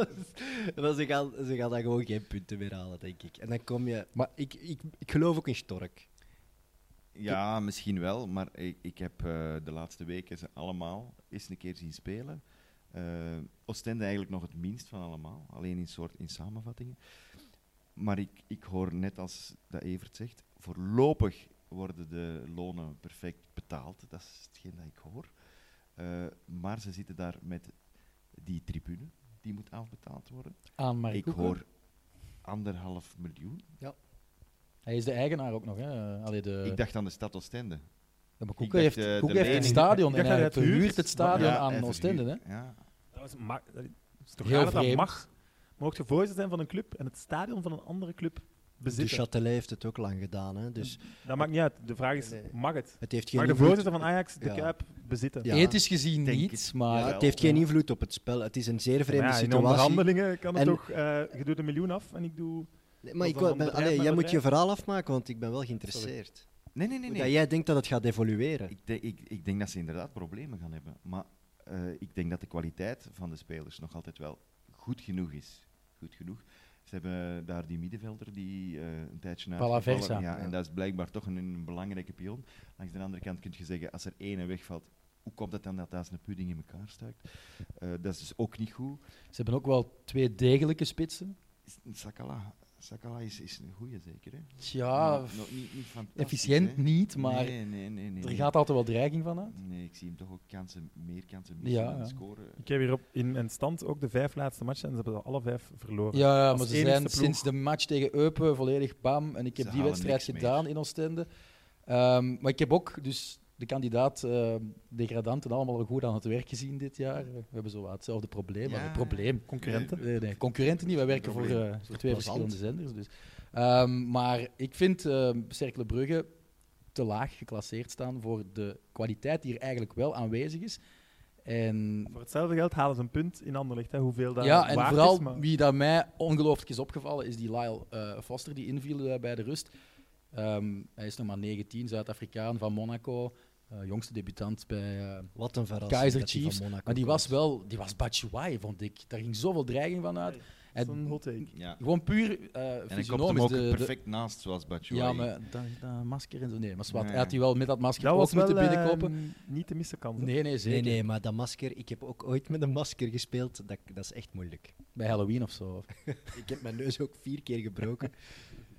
Speaker 3: maar ze gaan, ze gaan dan gewoon geen punten meer halen, denk ik. En dan kom je. Maar ik, ik, ik geloof ook in Stork.
Speaker 4: Ja, misschien wel, maar ik, ik heb eh, de laatste weken ze allemaal eens een keer zien spelen. Eh Oostende eigenlijk nog het minst van allemaal, alleen in, soort, in samenvattingen. Maar ik, ik hoor net als dat Evert zegt, voorlopig worden de lonen perfect betaald. Dat is hetgeen dat ik hoor. Eh, maar ze zitten daar met die tribune, die moet afbetaald worden.
Speaker 5: Aan Mark
Speaker 4: ik
Speaker 5: Koeken.
Speaker 4: hoor anderhalf miljoen.
Speaker 5: Hij is de eigenaar ook nog, hè? Allee, de...
Speaker 4: ik dacht aan de stad Oostende.
Speaker 5: Ja, maar
Speaker 4: ik
Speaker 5: Koeken
Speaker 4: dacht,
Speaker 5: heeft,
Speaker 4: eh, de
Speaker 5: Koeken heeft het
Speaker 4: lening-
Speaker 5: stadion
Speaker 2: Ik
Speaker 5: en
Speaker 2: dacht
Speaker 5: hij
Speaker 2: dat hij het
Speaker 5: verhuurt
Speaker 2: huurt.
Speaker 5: het stadion
Speaker 4: Ja,
Speaker 5: aan
Speaker 4: en
Speaker 5: Oostende, hè?
Speaker 4: verhuur- Ja,
Speaker 2: Dat is, ma- dat is toch
Speaker 5: Heel
Speaker 2: raar dat dat
Speaker 5: vreemd.
Speaker 2: mag? Mocht je voorzitter zijn van een club en het stadion van een andere club bezitten?
Speaker 3: De Châtelet heeft het ook lang gedaan. Hè? Dus
Speaker 2: dat maakt niet uit. De vraag is,
Speaker 3: Nee.
Speaker 2: mag het?
Speaker 3: het heeft geen
Speaker 2: Mag de
Speaker 3: invloed-
Speaker 2: voorzitter van Ajax de
Speaker 3: Ja.
Speaker 2: Kuip bezitten?
Speaker 3: Ja.
Speaker 5: Ethisch gezien
Speaker 4: Denk
Speaker 5: niet,
Speaker 4: het.
Speaker 5: maar
Speaker 3: Ja, het heeft geen invloed op het spel. Het is een zeer vreemde
Speaker 2: Maar ja, in de
Speaker 3: situatie.
Speaker 2: onderhandelingen kan het
Speaker 3: En-
Speaker 2: toch... eh, je doet een miljoen af en ik doe...
Speaker 3: Nee, maar
Speaker 2: Of
Speaker 3: ik
Speaker 2: van
Speaker 3: wou- ben-
Speaker 2: bedrijf
Speaker 3: allee,
Speaker 2: naar
Speaker 3: jij moet je
Speaker 2: bedrijf.
Speaker 3: verhaal afmaken, want ik ben wel geïnteresseerd.
Speaker 4: Nee, nee, nee.
Speaker 3: Hoe
Speaker 4: nee.
Speaker 3: Dat jij denkt dat het gaat evolueren.
Speaker 4: Ik, de- ik, ik denk dat ze inderdaad problemen gaan hebben. Maar eh, ik denk dat de kwaliteit van de spelers nog altijd wel goed genoeg is. Goed genoeg. Ze hebben daar die middenvelder die eh, een tijdje uit.
Speaker 5: Versa.
Speaker 4: Ja, en
Speaker 3: Ja.
Speaker 4: dat is blijkbaar toch een, een belangrijke pion. Langs de andere kant kun je zeggen, als er één wegvalt, hoe komt het dan dat daar een pudding in elkaar stuikt? Eh, dat is dus ook niet goed.
Speaker 5: Ze hebben ook wel twee degelijke spitsen.
Speaker 4: Is- Sakala, Sakala is, is een goeie zeker, hè?
Speaker 5: Tja,
Speaker 4: Maar nog niet, niet fantastisch,
Speaker 5: Ah, efficiënt
Speaker 4: hè?
Speaker 5: niet, maar
Speaker 4: Nee, nee, nee, nee,
Speaker 5: er
Speaker 4: nee.
Speaker 5: gaat altijd wel dreiging van uit.
Speaker 4: Nee, ik zie hem toch ook kansen, meer kansen missen
Speaker 5: Ja,
Speaker 4: dan
Speaker 5: ja.
Speaker 4: scoren.
Speaker 2: Ik heb hier op, in mijn stand ook de vijf laatste matchen en ze hebben alle vijf verloren.
Speaker 5: Ja, ja,
Speaker 2: Als
Speaker 5: maar ze
Speaker 2: enigste
Speaker 5: zijn
Speaker 2: ploeg.
Speaker 5: sinds de match tegen Eupen volledig bam. En ik heb die
Speaker 4: Ze halen
Speaker 5: wedstrijd
Speaker 4: niks meer.
Speaker 5: gedaan in Oostende. Ehm, maar ik heb ook dus de kandidaat ehm, degradanten allemaal wel goed aan het werk gezien dit jaar. We hebben zo wat hetzelfde probleem. maar
Speaker 4: Ja.
Speaker 5: een probleem.
Speaker 2: Concurrenten.
Speaker 5: Nee, nee, concurrenten niet. Wij werken voor,
Speaker 4: Probleem.
Speaker 5: eh, voor twee
Speaker 3: plezant.
Speaker 5: verschillende zenders. Dus. Ehm, maar ik vind ehm Cercle Brugge te laag geclasseerd staan voor de kwaliteit die er eigenlijk wel aanwezig is. En
Speaker 2: Voor hetzelfde geld halen ze een punt in Anderlecht. Hè, hoeveel daar
Speaker 5: ja, en
Speaker 2: waard
Speaker 5: vooral
Speaker 2: is. Maar...
Speaker 5: wie dat mij ongelooflijk is opgevallen, is die Lyle eh, Foster die inviel eh, bij de rust. Ehm, hij is nog maar 19, Zuid-Afrikaan van Monaco, eh, jongste debutant bij. eh,
Speaker 3: Wat een verrassing.
Speaker 5: Kaiser
Speaker 3: dat die van
Speaker 5: Chiefs,
Speaker 3: Monaco
Speaker 5: maar die was
Speaker 3: komt.
Speaker 5: wel, die was Batshuayi, vond ik. Daar ging zoveel dreiging van uit.
Speaker 2: Nee,
Speaker 5: Hij-
Speaker 2: Zo'n hot take.
Speaker 4: Ja.
Speaker 5: gewoon puur eh
Speaker 4: En ik kopte hem
Speaker 5: fysionomisch.
Speaker 4: ook
Speaker 5: de- de-
Speaker 4: perfect naast, zoals Batshuayi.
Speaker 5: ja, maar dat, dat masker en zo. Nee, maar zwart.
Speaker 4: Nee.
Speaker 5: Hij had die wel met dat masker
Speaker 2: Dat was
Speaker 5: ook
Speaker 2: wel
Speaker 5: moeten
Speaker 2: eh,
Speaker 5: binnenkopen.
Speaker 2: niet te missen kans.
Speaker 5: Nee, nee, zeker.
Speaker 3: Nee, nee, maar dat masker, ik heb ook ooit met een masker gespeeld. Dat, dat is echt moeilijk.
Speaker 5: Bij Halloween of zo.
Speaker 3: Ik heb mijn neus ook vier keer gebroken.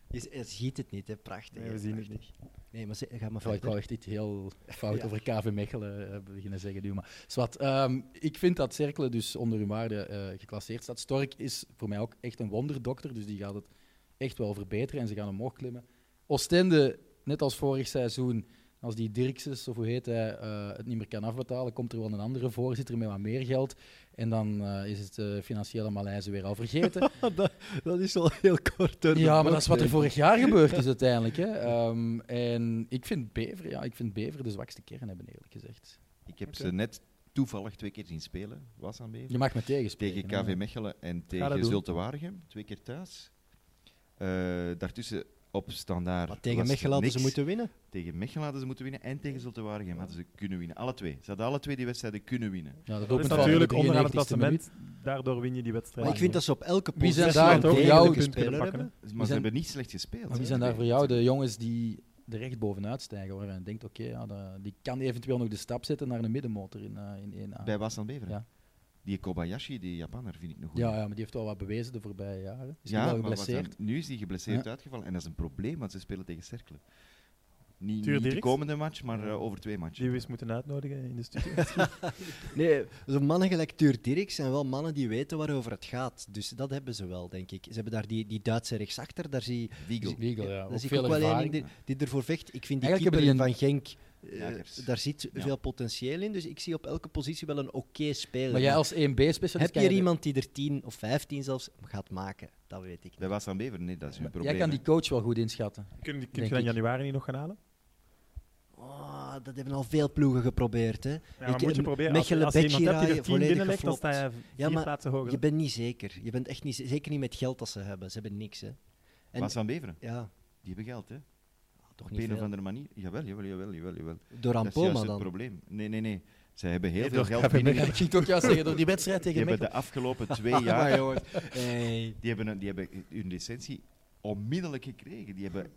Speaker 3: Je, je ziet het niet, hè? Prachtig.
Speaker 2: Nee, we
Speaker 3: hè,
Speaker 2: zien het
Speaker 3: prachtig. Nee, maar ze- ga maar
Speaker 5: Terwijl ik wel
Speaker 3: verder.
Speaker 5: echt iets heel fout
Speaker 3: Ja.
Speaker 5: over KV Mechelen eh, beginnen zeggen nu. Maar zwart, ehm, ik vind dat Cercle dus onder hun waarde eh, geclasseerd staat. Stork is voor mij ook echt een wonderdokter, dus die gaat het echt wel verbeteren en ze gaan omhoog klimmen. Oostende, net als vorig seizoen, als die Dirkses, of hoe heet hij, eh, het niet meer kan afbetalen, komt er wel een andere voorzitter met wat meer geld. En dan eh, is het eh, financiële malaise weer al vergeten.
Speaker 3: dat, dat is al heel kort. door de
Speaker 5: Ja, maar
Speaker 3: bocht,
Speaker 5: dat is wat er
Speaker 3: denk ik.
Speaker 5: vorig jaar gebeurd is uiteindelijk. Hè. Ehm, en ik vind, Bever, ja, ik vind Bever de zwakste kern hebben, eerlijk gezegd.
Speaker 4: Ik heb
Speaker 2: Oké.
Speaker 4: ze net toevallig twee keer zien spelen, was aan Bever.
Speaker 5: Je mag me tegenspreken.
Speaker 4: Tegen
Speaker 5: hè.
Speaker 4: KV Mechelen en
Speaker 2: dat
Speaker 4: tegen
Speaker 2: doen.
Speaker 4: Zulte Waregem, twee keer thuis. Eh, daartussen op standaard.
Speaker 3: Maar tegen
Speaker 4: was
Speaker 3: Mechelen hadden ze
Speaker 4: niks.
Speaker 3: moeten winnen.
Speaker 4: Tegen Mechelen hadden ze moeten winnen en tegen Zulte Waregem hadden ze kunnen winnen. Alle twee. Ze hadden alle twee die wedstrijden kunnen winnen.
Speaker 5: Ja, dat
Speaker 2: Dat
Speaker 5: opent
Speaker 2: is
Speaker 5: van
Speaker 2: natuurlijk
Speaker 5: de
Speaker 2: onderaan het
Speaker 5: 93e minuut.
Speaker 2: klassement. Daardoor win je die wedstrijd.
Speaker 3: Maar ik vind dat ze op elke
Speaker 5: Wie zijn
Speaker 3: positie
Speaker 5: daar
Speaker 3: een
Speaker 5: voor
Speaker 3: degelijke
Speaker 5: jou-
Speaker 3: speler
Speaker 2: kunnen
Speaker 3: hebben.
Speaker 2: pakken,
Speaker 4: Maar
Speaker 5: zijn-
Speaker 4: ze hebben niet slecht gespeeld.
Speaker 5: Maar wie
Speaker 4: hè.
Speaker 5: zijn daar voor jou de jongens die er recht bovenuit stijgen? Waarvan je denkt, oké, ja, dat- die kan eventueel nog de stap zetten naar een middenmotor in, eh, in 1A.
Speaker 4: Bij Wasan Bever.
Speaker 5: Ja.
Speaker 4: Die Kobayashi, die Japaner, vind ik nog goed.
Speaker 5: ja, ja, maar die heeft wel wat bewezen de voorbije jaren. Is
Speaker 4: Ja,
Speaker 5: nu wel
Speaker 4: maar wat
Speaker 5: geblesseerd.
Speaker 4: dan- nu is hij geblesseerd
Speaker 5: Ja.
Speaker 4: uitgevallen. En dat is een probleem, want ze spelen tegen Cercle. Niet,
Speaker 2: Tuur
Speaker 4: niet de
Speaker 2: Dirks?
Speaker 4: komende match, maar eh, over twee matchen.
Speaker 2: Die we eens moeten uitnodigen in de studio.
Speaker 3: Nee, zo'n mannen gelijk Tuur Dirk zijn wel mannen die weten waarover het gaat. Dus dat hebben ze wel, denk ik. Ze hebben daar die, die Duitse rechtsachter, daar zie
Speaker 4: Vigo.
Speaker 5: Legal, ja.
Speaker 3: daar
Speaker 5: Ook
Speaker 3: zie ik
Speaker 5: veel
Speaker 3: ook wel één
Speaker 5: ervaring.
Speaker 3: die, die ervoor vecht. Ik vind die
Speaker 5: Eigenlijk
Speaker 3: keeper
Speaker 5: hebben
Speaker 3: van Genk, eh,
Speaker 4: Jagers.
Speaker 3: daar zit
Speaker 4: Ja.
Speaker 3: veel potentieel in. Dus ik zie op elke positie wel een oké speler.
Speaker 5: Maar jij als 1B-specialist
Speaker 3: Heb je er iemand die er 10 of 15 zelfs gaat maken? Dat weet ik niet.
Speaker 4: Dat was aan Bever, nee, dat is hun probleem.
Speaker 5: Jij kan
Speaker 4: hè.
Speaker 5: die coach wel goed inschatten.
Speaker 2: kun je, kun
Speaker 5: Denk
Speaker 2: je dat in
Speaker 5: ik.
Speaker 2: januari niet nog gaan halen?
Speaker 3: Oh, dat hebben al veel ploegen geprobeerd. Hè.
Speaker 2: Ja, maar
Speaker 3: Ik-
Speaker 2: moet je
Speaker 3: eh,
Speaker 2: proberen. Als,
Speaker 3: Mechelen,
Speaker 2: als je iemand
Speaker 3: Bekira,
Speaker 2: hebt die er tien
Speaker 3: volledig
Speaker 2: binnenlegt, dan
Speaker 3: geflopt.
Speaker 2: sta je
Speaker 3: Ja,
Speaker 2: vier
Speaker 3: maar
Speaker 2: plaatsen hoger.
Speaker 3: Je bent niet zeker. Je bent echt niet, z- zeker niet met geld dat ze hebben. Ze hebben niks. Hè. En-
Speaker 4: Was aan Beveren,
Speaker 3: Ja,
Speaker 4: die hebben geld, hè?
Speaker 3: toch
Speaker 4: Op
Speaker 3: niet
Speaker 4: een of
Speaker 3: veel.
Speaker 4: andere manier. Jawel, jawel, jawel, jawel. jawel.
Speaker 3: Door
Speaker 4: dat is juist
Speaker 3: Ampoma
Speaker 4: het
Speaker 3: dan.
Speaker 4: probleem. Nee, nee, nee. Zij hebben heel
Speaker 2: Nee,
Speaker 4: veel
Speaker 2: door
Speaker 4: geld
Speaker 2: KV
Speaker 4: binnen.
Speaker 5: Ja, ik ging het ook juist zeggen, door die wedstrijd
Speaker 4: Die
Speaker 5: tegen
Speaker 4: hebben
Speaker 5: Mechelen.
Speaker 4: de afgelopen twee jaar
Speaker 3: Hey.
Speaker 4: die hebben, een- die hebben hun licentie onmiddellijk gekregen. Die hebben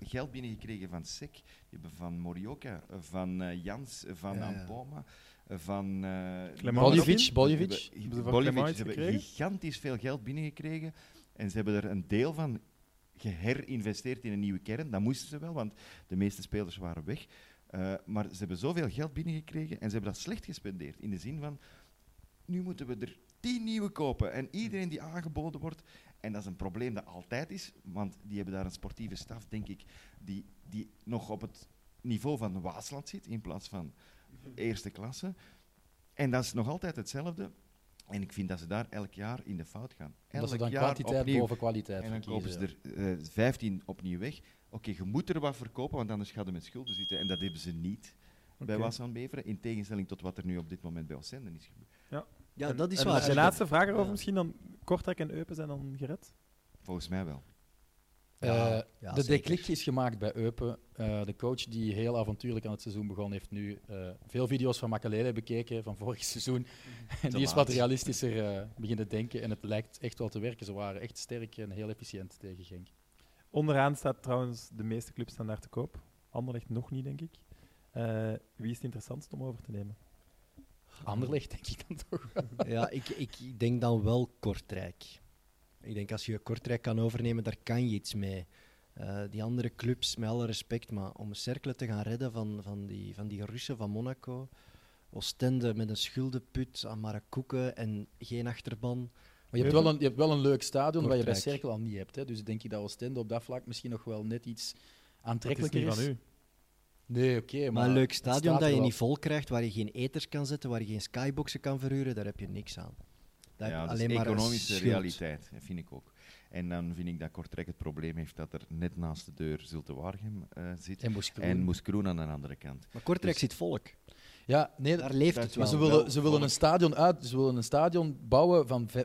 Speaker 4: geld binnengekregen van SEC, die hebben van Morioka, eh, van eh, Jans, eh, van
Speaker 3: Ja, ja.
Speaker 4: Ampoma, eh, van... eh,
Speaker 2: Clemens.
Speaker 5: Boljevic, Boljevic.
Speaker 4: Hebben- Boljevic,
Speaker 2: ze van
Speaker 4: Boljevic,
Speaker 2: Clemens
Speaker 4: Ze hebben
Speaker 2: gekregen?
Speaker 4: gigantisch veel geld binnengekregen en ze hebben er een deel van geherinvesteerd in een nieuwe kern. Dat moesten ze wel, want de meeste spelers waren weg. Eh, maar ze hebben zoveel geld binnengekregen en ze hebben dat slecht gespendeerd. In de zin van, nu moeten we er tien nieuwe kopen. En iedereen die aangeboden wordt, en dat is een probleem dat altijd is, want die hebben daar een sportieve staf, denk ik, die, die nog op het niveau van Waasland zit in plaats van eerste klasse. En dat is nog altijd hetzelfde. En ik vind dat ze daar elk jaar in de fout gaan.
Speaker 5: Omdat ze
Speaker 4: Elk
Speaker 5: dan
Speaker 4: jaar
Speaker 5: kwantiteit
Speaker 4: opnieuw.
Speaker 5: boven kwaliteit
Speaker 4: En dan kopen
Speaker 5: verkiezen.
Speaker 4: ze er eh, 15 opnieuw weg. Oké, je moet er wat verkopen, want anders gaat je met schulden zitten. En dat hebben ze niet bij
Speaker 2: Oké.
Speaker 4: Wassan Beveren, in tegenstelling tot wat er nu op dit moment bij Ossenden is gebeurd.
Speaker 3: Ja,
Speaker 2: En-
Speaker 3: dat is
Speaker 2: en
Speaker 3: waar.
Speaker 2: De laatste vraag erover
Speaker 3: Ja.
Speaker 2: misschien dan. Kortrijk en Eupen zijn dan gered.
Speaker 4: Volgens mij wel.
Speaker 5: Eh,
Speaker 3: ja,
Speaker 5: de
Speaker 3: zeker.
Speaker 5: deklik is gemaakt bij Eupen. Eh, de coach die heel avontuurlijk aan het seizoen begon, heeft nu eh, veel video's van Makalele bekeken van vorig seizoen. En die is
Speaker 4: laat.
Speaker 5: wat realistischer eh, beginnen denken. En het lijkt echt wel te werken. Ze waren echt sterk en heel efficiënt tegen Genk.
Speaker 2: Onderaan staat trouwens de meeste clubs staan daar te koop. Anderlecht nog niet, denk ik. Eh, wie is het interessantst om over te nemen?
Speaker 5: Anderlecht, denk ik dan toch.
Speaker 3: Ja, ik, ik denk dan wel Kortrijk. Ik denk als je Kortrijk kan overnemen, daar kan je iets mee. Eh, die andere clubs, met alle respect, maar om cirkelen te gaan redden van, van, die, van die Russen van Monaco. Oostende met een schuldenput aan Marakoeken en geen achterban.
Speaker 5: Maar je hebt, wel een, je hebt wel een leuk stadion waar je bij
Speaker 3: Kortrijk.
Speaker 5: Cerkel al niet hebt. Hè? Dus denk ik dat Oostende op dat vlak misschien nog wel net iets
Speaker 2: Dat is
Speaker 5: aantrekkelijker
Speaker 2: niet
Speaker 5: is.
Speaker 2: van u.
Speaker 5: Nee, oké. maar,
Speaker 3: Maar een leuk
Speaker 5: het
Speaker 3: stadion
Speaker 5: staat
Speaker 3: dat
Speaker 5: er
Speaker 3: je
Speaker 5: wel.
Speaker 3: niet vol krijgt, waar je geen eters kan zetten, waar je geen skyboxen kan verhuren, daar heb je niks aan. Daar heb
Speaker 4: Ja,
Speaker 3: je
Speaker 4: dat
Speaker 3: alleen
Speaker 4: is
Speaker 3: maar een
Speaker 4: economische
Speaker 3: schuld.
Speaker 4: realiteit, dat vind ik ook. En dan vind ik dat Kortrijk het probleem heeft dat er net naast de deur Zulte Waregem eh, zit.
Speaker 5: En Moes Kroen.
Speaker 4: En Moeskroen aan de andere kant.
Speaker 3: Maar Kortrijk
Speaker 4: Dus-
Speaker 3: zit volk.
Speaker 5: Ja, nee,
Speaker 3: Daar leeft
Speaker 4: daar
Speaker 3: het
Speaker 4: zit-
Speaker 5: Maar
Speaker 3: wel.
Speaker 5: ze
Speaker 4: Wel,
Speaker 5: willen, ze willen
Speaker 4: volk.
Speaker 5: een stadion uit, ze willen een stadion bouwen van vij-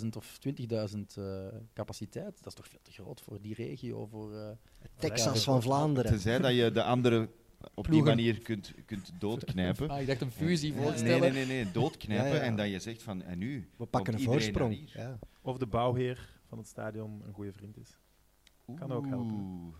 Speaker 5: 15.000 of 20.000 eh, capaciteit. Dat is toch veel te groot voor die regio, voor eh,
Speaker 3: Texas
Speaker 5: Ja,
Speaker 3: van Vlaanderen.
Speaker 4: Tenzij dat je de andere op die
Speaker 5: Ploegen.
Speaker 4: manier kunt, kunt doodknijpen.
Speaker 5: Ah, ik dacht een fusie
Speaker 4: Nee,
Speaker 5: voorstellen.
Speaker 4: Nee, nee, nee, doodknijpen.
Speaker 3: Ja, ja.
Speaker 4: En dat je zegt van, en nu?
Speaker 3: We pakken een
Speaker 4: Komt iedereen naar
Speaker 3: voorsprong.
Speaker 4: hier?
Speaker 3: Ja.
Speaker 2: Of de bouwheer van het stadion een goede vriend is. Kan ook helpen.
Speaker 4: Oeh.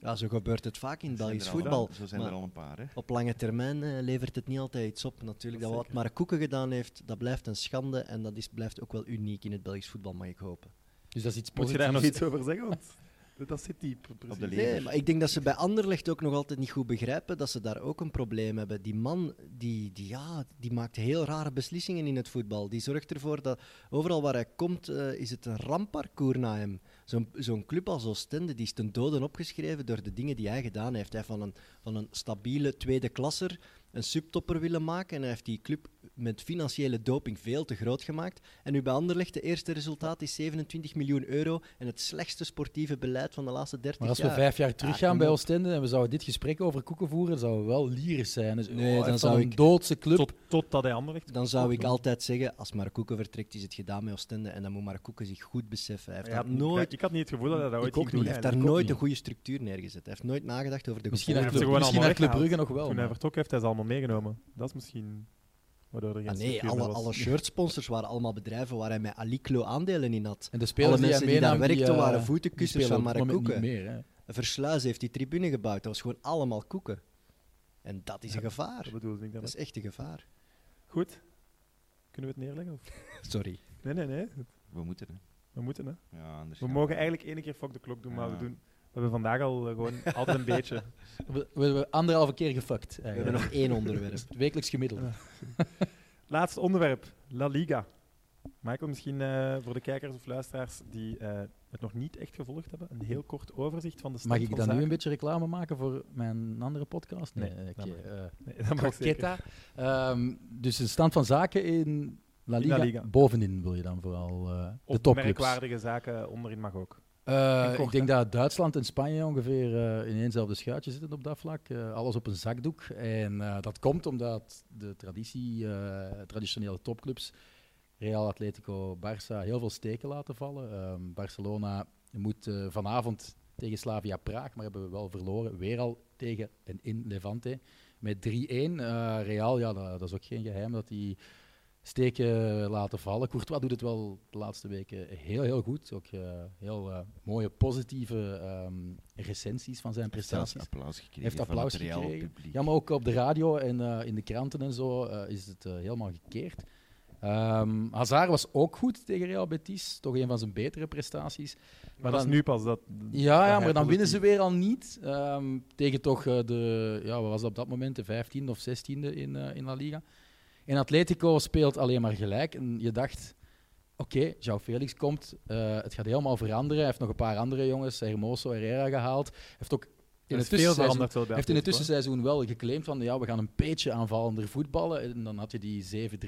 Speaker 3: Ja, zo gebeurt het vaak in
Speaker 4: Zijn
Speaker 3: Belgisch
Speaker 4: er al
Speaker 3: voetbal.
Speaker 4: een- Zo zijn
Speaker 3: Maar
Speaker 4: er al een paar, hè.
Speaker 3: op lange termijn eh, levert het niet altijd iets op. Natuurlijk,
Speaker 2: Dat
Speaker 3: dat wat
Speaker 2: zeker.
Speaker 3: Marakoeken gedaan heeft, dat blijft een schande. En dat is, blijft ook wel uniek in het Belgisch voetbal, mag ik hopen.
Speaker 5: Dus dat is iets
Speaker 2: Moet je daar nog
Speaker 5: positiefs.
Speaker 2: iets over zeggen? Want dat zit diep. precies.
Speaker 4: de leer.
Speaker 3: Nee, maar ik denk dat ze bij Anderlecht ook nog altijd niet goed begrijpen dat ze daar ook een probleem hebben. Die man, die, die, ja, die maakt heel rare beslissingen in het voetbal. Die zorgt ervoor dat overal waar hij komt, eh, is het een ramparcours na hem. Zo'n zo'n club als Oostende, die is ten doden opgeschreven door de dingen die hij gedaan heeft. Hij van een, van een stabiele tweede klasser een subtopper willen maken. En hij heeft die club met financiële doping veel te groot gemaakt. En nu bij Anderlecht, de eerste resultaat is 27 miljoen euro. En het slechtste sportieve beleid van de laatste 30
Speaker 5: Maar als we
Speaker 3: jaar.
Speaker 5: vijf jaar teruggaan
Speaker 3: kom
Speaker 5: bij
Speaker 3: op.
Speaker 5: Oostende en we zouden dit gesprek over koeken voeren, zouden we wel lyrisch zijn. Dus,
Speaker 3: Nee, dan
Speaker 5: dan
Speaker 3: zou
Speaker 5: zou een
Speaker 3: ik-
Speaker 5: doodse club.
Speaker 2: Tot, totdat hij Anderlecht
Speaker 3: Dan zou ik
Speaker 2: Ja.
Speaker 3: altijd zeggen, als Marcoeken vertrekt, is het gedaan met Oostende. En dan moet Marcoeken zich goed beseffen. Hij heeft
Speaker 2: Hij had
Speaker 3: daar
Speaker 2: niet-
Speaker 3: nooit,
Speaker 2: Ik had niet het gevoel dat hij dat ooit
Speaker 3: ik ook
Speaker 2: ging
Speaker 3: niet,
Speaker 2: doen.
Speaker 3: hij heeft daar
Speaker 2: eigenlijk.
Speaker 5: ook
Speaker 3: nooit
Speaker 5: niet.
Speaker 3: een goede structuur neergezet. Hij heeft nooit nagedacht over de
Speaker 5: misschien
Speaker 3: gevolgen.
Speaker 5: naar
Speaker 2: heeft ze
Speaker 5: Club,
Speaker 2: gewoon
Speaker 5: misschien naar
Speaker 2: allemaal
Speaker 5: Club Brugge nog wel.
Speaker 2: Toen hij
Speaker 5: maar-
Speaker 2: vertrok heeft hij ze allemaal meegenomen. Dat is misschien waardoor er geen
Speaker 3: Ah, nee,
Speaker 2: structuur
Speaker 3: alle,
Speaker 2: meer was.
Speaker 3: alle shirtsponsors waren allemaal bedrijven waar hij met Aliclo aandelen in had.
Speaker 5: En de
Speaker 3: Alle
Speaker 5: spelers die,
Speaker 3: mensen
Speaker 5: hij
Speaker 3: die daar
Speaker 5: meenam,
Speaker 3: werkten
Speaker 5: eh,
Speaker 3: waren
Speaker 5: die
Speaker 3: voetenkussens
Speaker 5: spelen
Speaker 3: van
Speaker 5: op het moment
Speaker 3: Marcoeken.
Speaker 5: niet meer, hè.
Speaker 3: Versluis heeft die tribune gebouwd. Dat was gewoon allemaal koeken. En dat is een gevaar.
Speaker 2: Dat bedoelde ik
Speaker 3: Dat
Speaker 2: daarmee.
Speaker 3: is echt een gevaar.
Speaker 2: Goed. Kunnen we het neerleggen? Of?
Speaker 3: Sorry.
Speaker 2: Nee, nee, nee.
Speaker 4: We moeten, hè.
Speaker 2: We moeten, hè.
Speaker 4: Ja, anders
Speaker 5: Dus
Speaker 2: We
Speaker 4: gaan
Speaker 2: mogen eigenlijk één keer fuck de klok doen, maar we
Speaker 4: Ja.
Speaker 2: doen... We hebben vandaag al eh, gewoon altijd een beetje.
Speaker 5: We, we hebben anderhalve keer gefuckt.
Speaker 3: We hebben
Speaker 5: Eigenlijk.
Speaker 3: nog één onderwerp.
Speaker 5: Het wekelijks gemiddelde.
Speaker 2: Laatste onderwerp. La Liga. Michael, misschien eh, voor de kijkers of luisteraars die eh, het nog niet echt gevolgd hebben, een heel kort overzicht van de stand
Speaker 5: Mag ik
Speaker 2: van
Speaker 5: dan nu
Speaker 2: zaken.
Speaker 5: een beetje reclame maken voor mijn andere podcast?
Speaker 2: Nee,
Speaker 5: oké.
Speaker 2: dat mag.
Speaker 5: eh,
Speaker 2: Nee, dat mag zeker.
Speaker 5: Croqueta. Ehm, dus een stand van zaken in La
Speaker 2: In
Speaker 5: Liga.
Speaker 2: La Liga.
Speaker 5: Bovenin wil je dan vooral eh, de
Speaker 2: Of
Speaker 5: topclubs.
Speaker 2: merkwaardige zaken onderin mag ook.
Speaker 5: Eh,
Speaker 2: En kort,
Speaker 5: ik denk dat Duitsland en Spanje ongeveer eh, in éénzelfde schuitje zitten op dat vlak. Eh, alles op een zakdoek. En eh, dat komt omdat de traditie, eh, traditionele topclubs, Real, Atletico, Barça, heel veel steken laten vallen. Ehm, Barcelona moet eh, vanavond tegen Slavia Praag, maar hebben we wel verloren. Weer al tegen en in Levante met 3-1. Eh, Real, ja, dat, dat is ook geen geheim dat die steken laten vallen. Courtois doet het wel de laatste weken heel, heel goed. Ook eh, heel eh, mooie, positieve ehm, recensies van zijn
Speaker 4: Heeft zelfs
Speaker 5: prestaties.
Speaker 4: applaus gekregen
Speaker 5: Heeft
Speaker 4: van
Speaker 5: applaus
Speaker 4: het reale
Speaker 5: gekregen.
Speaker 4: publiek.
Speaker 5: Ja, maar ook op de radio en eh, in de kranten en zo eh, is het eh, helemaal gekeerd. Ehm Hazard was ook goed tegen Real Betis. Toch een van zijn betere prestaties.
Speaker 2: Maar dat
Speaker 5: dan-
Speaker 2: is nu pas dat...
Speaker 5: Ja, ja maar dan
Speaker 2: positief.
Speaker 5: winnen ze weer al niet. Ehm, tegen toch eh, de, ja, wat was dat op dat moment, de 15e of 16e in, eh, in La Liga. En Atletico speelt alleen maar gelijk. En je dacht, oké, João Felix komt, eh, het gaat helemaal veranderen. Hij heeft nog een paar andere jongens, Hermoso, Herrera gehaald. Hij heeft ook in
Speaker 2: Dat
Speaker 5: het
Speaker 2: is veel waarom
Speaker 5: tussenseizoen,
Speaker 2: dat wel bij
Speaker 5: heeft in het
Speaker 2: Atletico,
Speaker 5: tussenseizoen wel geclaimd van ja, we gaan een beetje aanvallender voetballen. En dan had je die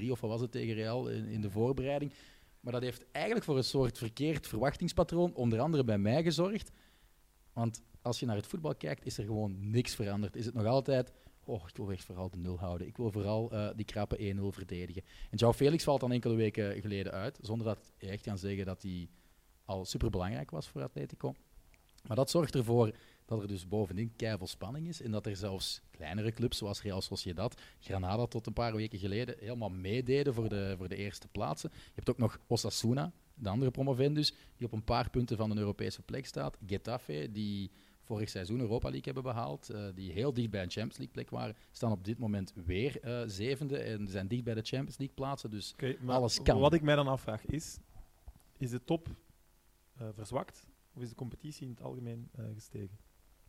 Speaker 5: 7-3 of wat was het tegen Real in, in de voorbereiding. Maar dat heeft eigenlijk voor een soort verkeerd verwachtingspatroon, onder andere bij mij, gezorgd. Want als je naar het voetbal kijkt, is er gewoon niks veranderd. Is het nog altijd, oh, ik wil echt vooral de nul houden. Ik wil vooral eh, die krappe 1-0 verdedigen. En João Felix valt dan enkele weken geleden uit, zonder dat je echt kan zeggen dat hij al superbelangrijk was voor Atletico. Maar dat zorgt ervoor dat er dus bovendien keiveel spanning is en dat er zelfs kleinere clubs zoals Real Sociedad, Granada tot een paar weken geleden helemaal meededen voor de, voor de eerste plaatsen. Je hebt ook nog Osasuna, de andere promovendus, die op een paar punten van een Europese plek staat. Getafe, die vorig seizoen Europa League hebben behaald, eh, die heel dicht bij een Champions League plek waren, staan op dit moment weer eh, zevende en zijn dicht bij de Champions League plaatsen. Dus
Speaker 2: hè? Oké, maar
Speaker 5: Alles kan.
Speaker 2: Wat ik mij dan afvraag is, is de top eh, verzwakt of is de competitie in het algemeen eh, gestegen?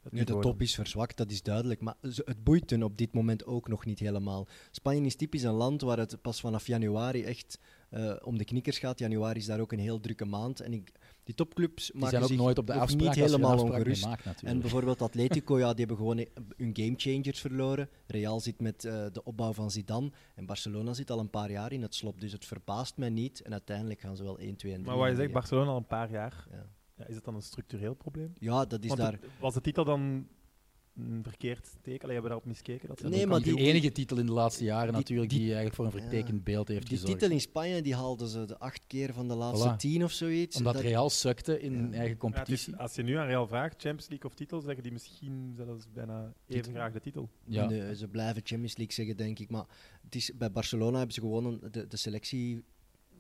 Speaker 2: Het
Speaker 3: Nu, de
Speaker 2: niveau
Speaker 3: top
Speaker 2: dan.
Speaker 3: is verzwakt, dat is duidelijk. Maar ze- het boeit hun op dit moment ook nog niet helemaal. Spanje is typisch een land waar het pas vanaf januari echt eh, om de knikkers gaat. Januari is daar ook een heel drukke maand. En ik, die topclubs
Speaker 5: die
Speaker 3: maken
Speaker 5: zijn ook
Speaker 3: zich
Speaker 5: nooit op de
Speaker 3: nog
Speaker 5: afspraak
Speaker 3: niet
Speaker 5: als je een
Speaker 3: helemaal
Speaker 5: afspraak mee
Speaker 3: ongerust.
Speaker 5: maakt, natuurlijk.
Speaker 3: En bijvoorbeeld Atletico, ja, die hebben gewoon eh, hun gamechangers verloren. Real zit met eh, de opbouw van Zidane. En Barcelona zit al een paar jaar in het slop. Dus het verbaast mij niet. En uiteindelijk gaan ze wel 1, 2 en 3.
Speaker 2: Maar wat je zegt,
Speaker 3: eindigen.
Speaker 2: Barcelona al een paar jaar,
Speaker 3: Ja.
Speaker 2: ja, is het dan een structureel probleem?
Speaker 3: Ja, dat is
Speaker 2: Want
Speaker 3: daar.
Speaker 2: het- was de titel dan een verkeerd teken? Allee, hebben we daarop miskeken? Dat ze
Speaker 3: Nee,
Speaker 2: dat
Speaker 3: maar
Speaker 5: die,
Speaker 3: die-
Speaker 5: enige titel in de laatste jaren
Speaker 3: die-
Speaker 5: natuurlijk die,
Speaker 3: die-
Speaker 5: eigenlijk voor een vertekend beeld heeft
Speaker 3: Die
Speaker 5: gezorgd.
Speaker 3: titel in Spanje die haalden ze de acht keer van de laatste
Speaker 5: Voilà.
Speaker 3: tien of zoiets.
Speaker 5: Omdat
Speaker 3: Dat-
Speaker 5: Real sukte in
Speaker 3: Ja.
Speaker 5: hun eigen
Speaker 2: Ja, het is-
Speaker 5: competitie.
Speaker 2: als je nu aan Real vraagt, Champions League of titel, zeggen die misschien zelfs bijna even
Speaker 5: Titel.
Speaker 2: graag de titel.
Speaker 5: Ja.
Speaker 3: Nee, ze blijven Champions League zeggen, denk ik. Maar het is, bij Barcelona hebben ze gewoon een- de, de selectie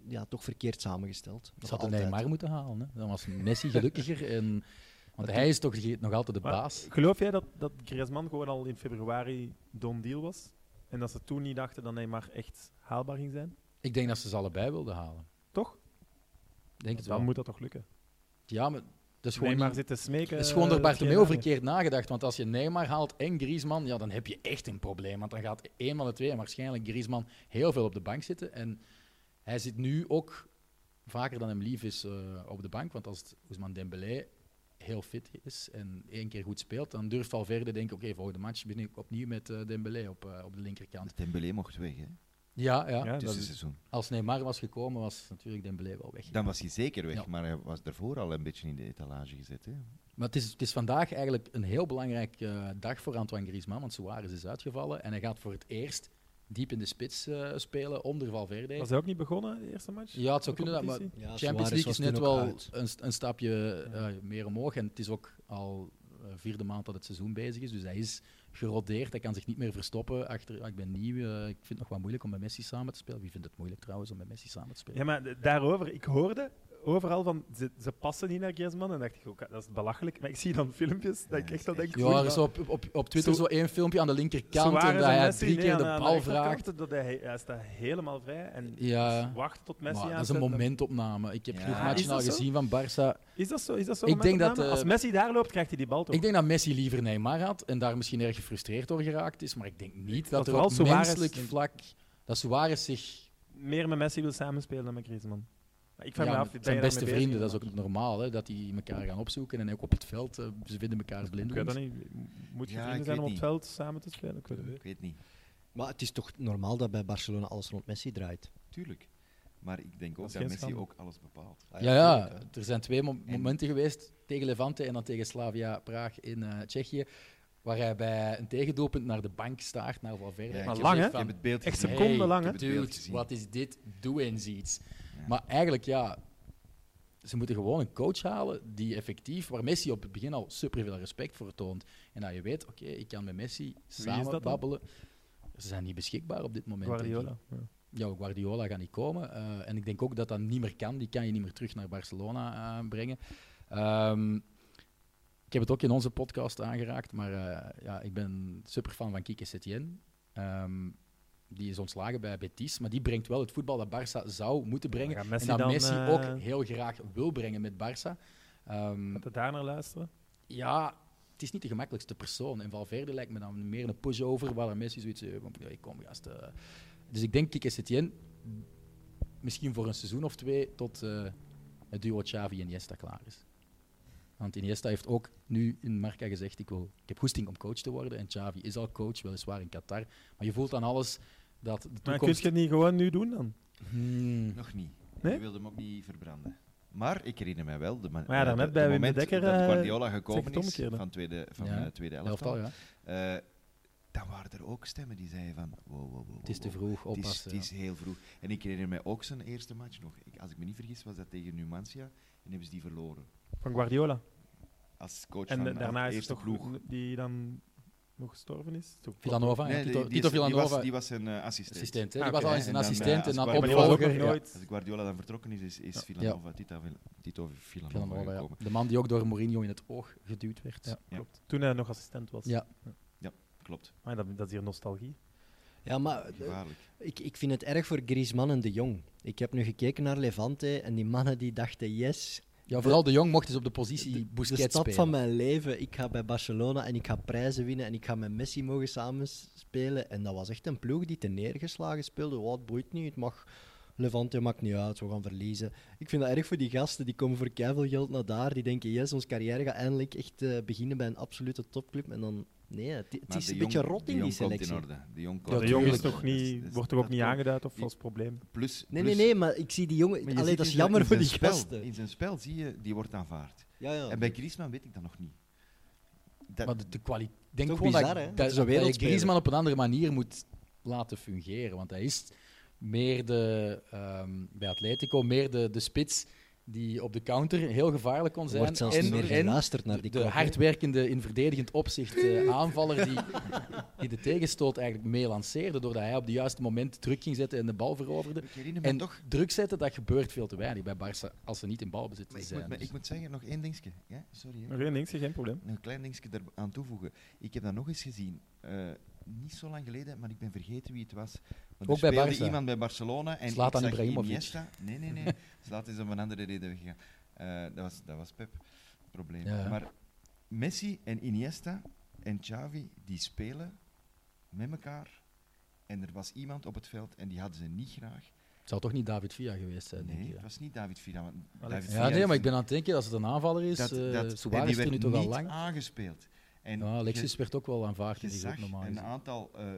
Speaker 3: ja, toch verkeerd samengesteld.
Speaker 5: Ze
Speaker 3: Nog
Speaker 5: hadden
Speaker 3: altijd.
Speaker 5: Neymar moeten halen. Hè. Dan was Messi gelukkiger. En, want hij is toch ge- nog altijd de
Speaker 2: Maar-
Speaker 5: baas.
Speaker 2: Geloof jij dat, dat Griezmann gewoon al in februari done deal was? En dat ze toen niet dachten dat Neymar echt haalbaar ging zijn?
Speaker 5: Ik denk dat ze ze allebei wilden halen.
Speaker 2: Toch?
Speaker 5: Ik Denk het
Speaker 2: Dan
Speaker 5: wel.
Speaker 2: moet dat toch lukken?
Speaker 5: Ja, maar dat is gewoon,
Speaker 2: Neymar
Speaker 5: niet-
Speaker 2: zit te smeken.
Speaker 5: dat is gewoon door
Speaker 2: eh,
Speaker 5: Bartomeu
Speaker 2: geen
Speaker 5: verkeerd nagedacht. Want als je Neymar haalt en Griezmann, ja, dan heb je echt een probleem. Want dan gaat één van de twee, en waarschijnlijk Griezmann, heel veel op de bank zitten. En hij zit nu ook vaker dan hem lief is eh, op de bank. Want als het Ousmane Dembélé heel fit is en één keer goed speelt, dan durft Valverde denken, oké, volgende match ben ik opnieuw met eh, Dembélé op, eh, op de linkerkant.
Speaker 4: Dembélé mocht weg, hè?
Speaker 5: Ja, ja,
Speaker 2: aan. Ja, dat is-
Speaker 4: Tussenseizoen.
Speaker 5: Als Neymar was gekomen, was natuurlijk Dembélé wel weg.
Speaker 4: Dan was hij zeker weg,
Speaker 5: Ja.
Speaker 4: maar hij was daarvoor al een beetje in de etalage gezet. Hè?
Speaker 5: Maar het is, het is vandaag eigenlijk een heel belangrijk eh, dag voor Antoine Griezmann, want Suarez is uitgevallen en hij gaat voor het eerst diep in de spits eh, spelen onder Valverde.
Speaker 2: Was hij ook niet begonnen, de eerste match?
Speaker 5: Ja, het zou
Speaker 2: De
Speaker 5: kunnen, dat, maar
Speaker 2: competitie?
Speaker 3: Ja,
Speaker 5: Champions
Speaker 3: Suarez
Speaker 5: League is
Speaker 3: was toen
Speaker 5: net
Speaker 3: ook
Speaker 5: wel
Speaker 3: uit.
Speaker 5: een, st- een stapje
Speaker 2: Ja.
Speaker 5: eh, meer omhoog en het is ook al eh, vierde maand dat het seizoen bezig is, dus hij is gerodeerd, hij kan zich niet meer verstoppen achter, ah, ik ben nieuw, eh, ik vind het nog wel moeilijk om met Messi samen te spelen. Wie vindt het moeilijk trouwens om met Messi samen te spelen?
Speaker 2: Ja, maar d- daarover, ik hoorde overal van ze, ze passen niet naar Griezmann. En dacht ik ook, ah, dat is belachelijk. Maar ik zie dan filmpjes dat ik echt al denk.
Speaker 5: Ja,
Speaker 2: oei,
Speaker 5: er is op, op, op Twitter
Speaker 2: Zo-
Speaker 5: zo één filmpje aan de linkerkant
Speaker 2: Suarez
Speaker 5: en dat hij
Speaker 2: Messi,
Speaker 5: drie
Speaker 2: nee,
Speaker 5: keer
Speaker 2: aan-
Speaker 5: de
Speaker 2: aan
Speaker 5: bal
Speaker 2: rechterkant,
Speaker 5: vraagt.
Speaker 2: Dat hij, hij staat helemaal vrij en dus
Speaker 5: Ja.
Speaker 2: wacht tot
Speaker 5: Maar
Speaker 2: Messi aan
Speaker 5: dat is een momentopname. Ik heb
Speaker 4: Ja.
Speaker 5: genoeg
Speaker 4: Ah,
Speaker 5: matchen
Speaker 2: is dat
Speaker 5: al
Speaker 2: zo?
Speaker 5: gezien van Barça.
Speaker 2: Is dat zo? Is dat zo
Speaker 5: Ik denk dat,
Speaker 2: momentopname?
Speaker 5: eh,
Speaker 2: Als Messi daar loopt, krijgt hij die bal toch?
Speaker 5: Ik denk dat Messi liever Neymar had en daar misschien erg gefrustreerd door geraakt is. Maar ik denk niet dat,
Speaker 2: Dat
Speaker 5: er op
Speaker 2: vooral Suarez-
Speaker 5: menselijk vlak... Dat Suarez zich...
Speaker 2: Meer met Messi wil samenspelen dan met Griezmann. Maar ik
Speaker 5: Ja,
Speaker 2: vraag me af,
Speaker 5: het
Speaker 2: ben
Speaker 5: zijn
Speaker 2: je daarmee
Speaker 5: beste
Speaker 2: bezig?
Speaker 5: vrienden, dat is ook normaal. Hè, dat die elkaar gaan opzoeken en ook op het veld. eh, ze vinden elkaar
Speaker 2: Ik weet dat
Speaker 5: blindelings.
Speaker 2: niet. Moet je
Speaker 4: Ja, ik
Speaker 2: vrienden
Speaker 4: weet
Speaker 2: zijn om op het
Speaker 4: niet.
Speaker 2: veld samen te spelen? Ik weet het niet.
Speaker 4: Ik weet niet.
Speaker 3: Maar het is toch normaal dat bij Barcelona alles rond Messi draait?
Speaker 4: Tuurlijk. Maar ik denk
Speaker 2: Dat
Speaker 4: ook
Speaker 2: is
Speaker 4: dat,
Speaker 2: geen
Speaker 4: Messi
Speaker 2: schande.
Speaker 4: ook alles bepaalt.
Speaker 3: Ah
Speaker 5: Ja, ja,
Speaker 3: tuurlijk, hè.
Speaker 5: er zijn twee mom-
Speaker 4: En-
Speaker 5: momenten geweest tegen Levante en dan tegen Slavia Praag in eh, Tsjechië, waar hij bij een tegendoelpunt naar de bank staart, naar Valverde.
Speaker 4: Ja,
Speaker 5: Ik
Speaker 4: maar
Speaker 5: heb
Speaker 2: lang,
Speaker 5: gezegd
Speaker 4: Ik heb
Speaker 5: van,
Speaker 4: het beeld
Speaker 2: Echt
Speaker 4: gezien.
Speaker 2: seconden
Speaker 5: Hey,
Speaker 2: lang, hè?
Speaker 4: ik heb het beeld
Speaker 5: Dude,
Speaker 4: gezien.
Speaker 5: wat is dit? Doe eens iets.
Speaker 4: Ja.
Speaker 5: Maar eigenlijk, ja, ze moeten gewoon een coach halen die effectief, waar Messi op het begin al superveel respect voor toont. En dat je weet, oké, ik kan met Messi
Speaker 2: dat
Speaker 5: samen
Speaker 2: dan?
Speaker 5: babbelen. Ze zijn niet beschikbaar op dit moment. denk ik.
Speaker 2: Guardiola. Ja.
Speaker 5: Ja, Guardiola gaat niet komen. Eh, en ik denk ook dat dat niet meer kan. Die kan je niet meer terug naar Barcelona eh, brengen. Ehm, ik heb het ook in onze podcast aangeraakt, maar eh, ja, ik ben superfan van Kike Setien. Ehm, die is ontslagen bij Betis, maar die brengt wel het voetbal dat Barça zou moeten brengen.
Speaker 2: Dan gaat Messi
Speaker 5: en dat
Speaker 2: dan,
Speaker 5: Messi
Speaker 2: eh,
Speaker 5: ook heel graag wil brengen met Barça. Ehm,
Speaker 2: Gaat het daar naar luisteren?
Speaker 5: ja, het is niet de gemakkelijkste persoon. En Valverde lijkt me dan meer een pushover, waar Messi zoiets... eh, van, "Ja, Ik kom, gast. eh." Dus ik denk Kike Setien misschien voor een seizoen of twee tot eh, het duo Xavi en Iniesta klaar is. Want Iniesta heeft ook nu in Marca gezegd, ik, wil, ik heb goesting om coach te worden. En Xavi is al coach, weliswaar in Qatar. Maar je voelt aan alles dat de
Speaker 2: Maar kun je
Speaker 5: toekomst...
Speaker 2: het niet gewoon nu doen dan?
Speaker 5: Hmm.
Speaker 4: Nog niet.
Speaker 2: Nee?
Speaker 4: Je wilde hem ook niet verbranden. Maar ik herinner mij wel, de ma-
Speaker 2: Maar ja, daarnet
Speaker 4: de-
Speaker 2: bij
Speaker 4: de
Speaker 2: Wim de
Speaker 4: moment
Speaker 2: Dekker,
Speaker 4: dat
Speaker 2: eh,
Speaker 4: Guardiola
Speaker 2: zeg
Speaker 4: gekomen
Speaker 2: het
Speaker 4: is
Speaker 2: omgekeerde.
Speaker 4: van tweede, van,
Speaker 5: Ja,
Speaker 4: eh, tweede elftal,
Speaker 5: Elftal, ja.
Speaker 4: eh, dan waren er ook stemmen die zeiden van, wow, wow, wow, wow,
Speaker 5: Het is te
Speaker 4: wow.
Speaker 5: vroeg,
Speaker 4: Het is,
Speaker 5: oppassen.
Speaker 4: het is heel vroeg. En ik herinner mij ook zijn eerste match nog. Ik, als ik me niet vergis, was dat tegen Numancia en hebben ze die verloren.
Speaker 2: Van Guardiola.
Speaker 4: Als coach
Speaker 2: En
Speaker 4: van
Speaker 2: da-
Speaker 4: de
Speaker 2: daarna is het
Speaker 4: eerste
Speaker 2: toch
Speaker 4: ploeg.
Speaker 2: die dan nog gestorven is? Toch-
Speaker 5: Villanova, ja,
Speaker 4: Nee, die-
Speaker 5: Tito,
Speaker 4: die,
Speaker 5: Tito
Speaker 4: is- die was,
Speaker 5: Villanova,
Speaker 4: die was zijn eh, assistent.
Speaker 5: assistent. hè.
Speaker 2: Ah,
Speaker 5: Die
Speaker 2: oké,
Speaker 5: was al
Speaker 2: hè.
Speaker 5: eens
Speaker 4: En
Speaker 5: een
Speaker 4: dan,
Speaker 5: assistent
Speaker 4: eh,
Speaker 5: en dan
Speaker 4: als
Speaker 2: Maar die was ook nog
Speaker 5: opvolger. Ja,
Speaker 2: nooit...
Speaker 4: Als Guardiola dan vertrokken is, is, is Villanova, Tito, Vill- Tito Villanova,
Speaker 5: Villanova, ja.
Speaker 4: gekomen.
Speaker 5: De man die ook door Mourinho in het oog geduwd werd.
Speaker 2: Ja, klopt. Toen hij nog assistent was.
Speaker 5: Ja.
Speaker 4: Klopt,
Speaker 2: Maar dat, dat is hier nostalgie.
Speaker 3: Ja, maar eh,
Speaker 4: gevaarlijk.
Speaker 3: Ik, ik vind het erg voor Griezmann en De Jong. Ik heb nu gekeken naar Levante en die mannen die dachten, yes,
Speaker 5: Ja, vooral de Jong mocht eens op de
Speaker 3: De-
Speaker 5: positie
Speaker 3: de
Speaker 5: Busquets
Speaker 3: stap
Speaker 5: spelen.
Speaker 3: van mijn leven. Ik ga bij Barcelona en ik ga prijzen winnen en ik ga met Messi mogen samenspelen. En dat was echt een ploeg die te neergeslagen speelde. Wat het boeit niet, het mag... Levante maakt niet uit, we gaan verliezen. Ik vind dat erg voor die gasten, die komen voor keiveel geld naar daar. Die denken, yes, onze carrière gaat eindelijk echt eh, beginnen bij een absolute topclub. En dan, nee, het, het
Speaker 4: Maar
Speaker 3: is
Speaker 4: De
Speaker 3: een
Speaker 4: Jong-
Speaker 3: beetje rot in
Speaker 4: De
Speaker 3: die
Speaker 4: Jong komt
Speaker 3: selectie.
Speaker 4: in orde. De jong,
Speaker 5: Ja,
Speaker 4: komt
Speaker 2: de
Speaker 5: tuurlijk.
Speaker 2: jongen is
Speaker 4: in orde.
Speaker 2: toch
Speaker 4: Dat is-
Speaker 2: niet, wordt toch ook
Speaker 4: dat
Speaker 2: niet
Speaker 4: komt.
Speaker 2: aangeduid of
Speaker 4: Die-
Speaker 2: als probleem?
Speaker 4: Plus,
Speaker 3: Nee, nee,
Speaker 4: plus-
Speaker 3: nee, maar ik zie die
Speaker 4: Maar
Speaker 3: jongen...
Speaker 4: je
Speaker 3: Allee,
Speaker 4: ziet
Speaker 3: dat is
Speaker 4: in zijn-
Speaker 3: jammer
Speaker 4: in
Speaker 3: voor die
Speaker 4: zijn spel-
Speaker 3: gasten.
Speaker 4: In zijn spel zie je, die wordt aanvaard.
Speaker 3: Ja, ja.
Speaker 4: En bij Griezmann weet ik dat nog niet. Dat,
Speaker 5: Maar de, de kwaliteit... denk
Speaker 3: Toch
Speaker 5: gewoon
Speaker 3: bizar,
Speaker 5: dat,
Speaker 3: hè?
Speaker 5: dat,
Speaker 3: Dat is een
Speaker 5: dat je
Speaker 3: wereldspeler.
Speaker 5: Griezmann op een andere manier moet laten fungeren. Want hij is meer de, ehm, bij Atletico, meer de, de spits die op de counter heel gevaarlijk kon
Speaker 3: Er
Speaker 5: zijn.
Speaker 3: wordt zelfs
Speaker 5: en,
Speaker 3: niet meer
Speaker 5: en
Speaker 3: geluisterd naar
Speaker 5: de,
Speaker 3: die
Speaker 5: de
Speaker 3: kop, hè.
Speaker 5: hardwerkende, in verdedigend opzicht eh, aanvaller die, die de tegenstoot eigenlijk mee lanceerde, doordat hij op het juiste moment druk ging zetten en de bal veroverde.
Speaker 4: ik herinner me
Speaker 5: En
Speaker 4: toch...
Speaker 5: druk zetten, dat gebeurt veel te weinig bij Barça als ze niet in balbezit
Speaker 4: maar ik,
Speaker 5: zijn.
Speaker 4: moet, me-
Speaker 5: Dus-
Speaker 4: ik moet zeggen, nog één dingetje. Ja? Sorry, hè.
Speaker 2: Nog één ding, zeg, geen probleem.
Speaker 4: Nog een klein dingetje daar aan toevoegen. Ik heb dat nog eens gezien. eh, niet zo lang geleden, maar ik ben vergeten wie het was. Want
Speaker 5: Ook
Speaker 4: er
Speaker 5: bij
Speaker 4: speelde
Speaker 5: Barca.
Speaker 4: iemand bij Barcelona en
Speaker 5: Zlatan
Speaker 4: ik zag
Speaker 5: Ibrahimovic.
Speaker 4: Iniesta. Nee, nee, nee. Zlatan is om een andere reden weggegaan. Eh, dat, was, dat was Pep. het Probleem.
Speaker 5: Ja.
Speaker 4: Maar Messi en Iniesta en Xavi, die spelen met elkaar. En er was iemand op het veld en die hadden ze niet graag.
Speaker 5: Het zou toch niet David Villa geweest zijn, denk
Speaker 4: Nee,
Speaker 5: ik.
Speaker 4: het
Speaker 5: ja.
Speaker 4: was niet David Villa. want
Speaker 2: Alex-
Speaker 4: David
Speaker 5: Ja,
Speaker 4: Villa
Speaker 5: nee,
Speaker 4: is
Speaker 5: maar
Speaker 4: een-
Speaker 5: ik ben aan het denken als het een aanvaller is.
Speaker 4: dat,
Speaker 5: eh,
Speaker 4: dat, en
Speaker 5: Suarez
Speaker 4: die
Speaker 5: is er
Speaker 4: werd
Speaker 5: nu toch al
Speaker 4: niet
Speaker 5: lang.
Speaker 4: aangespeeld. En
Speaker 5: Ja, Alexis
Speaker 4: je-
Speaker 5: werd ook wel aanvaard
Speaker 4: je
Speaker 5: in die groep
Speaker 4: zag
Speaker 5: normaal
Speaker 4: een
Speaker 5: gezien.
Speaker 4: aantal eh,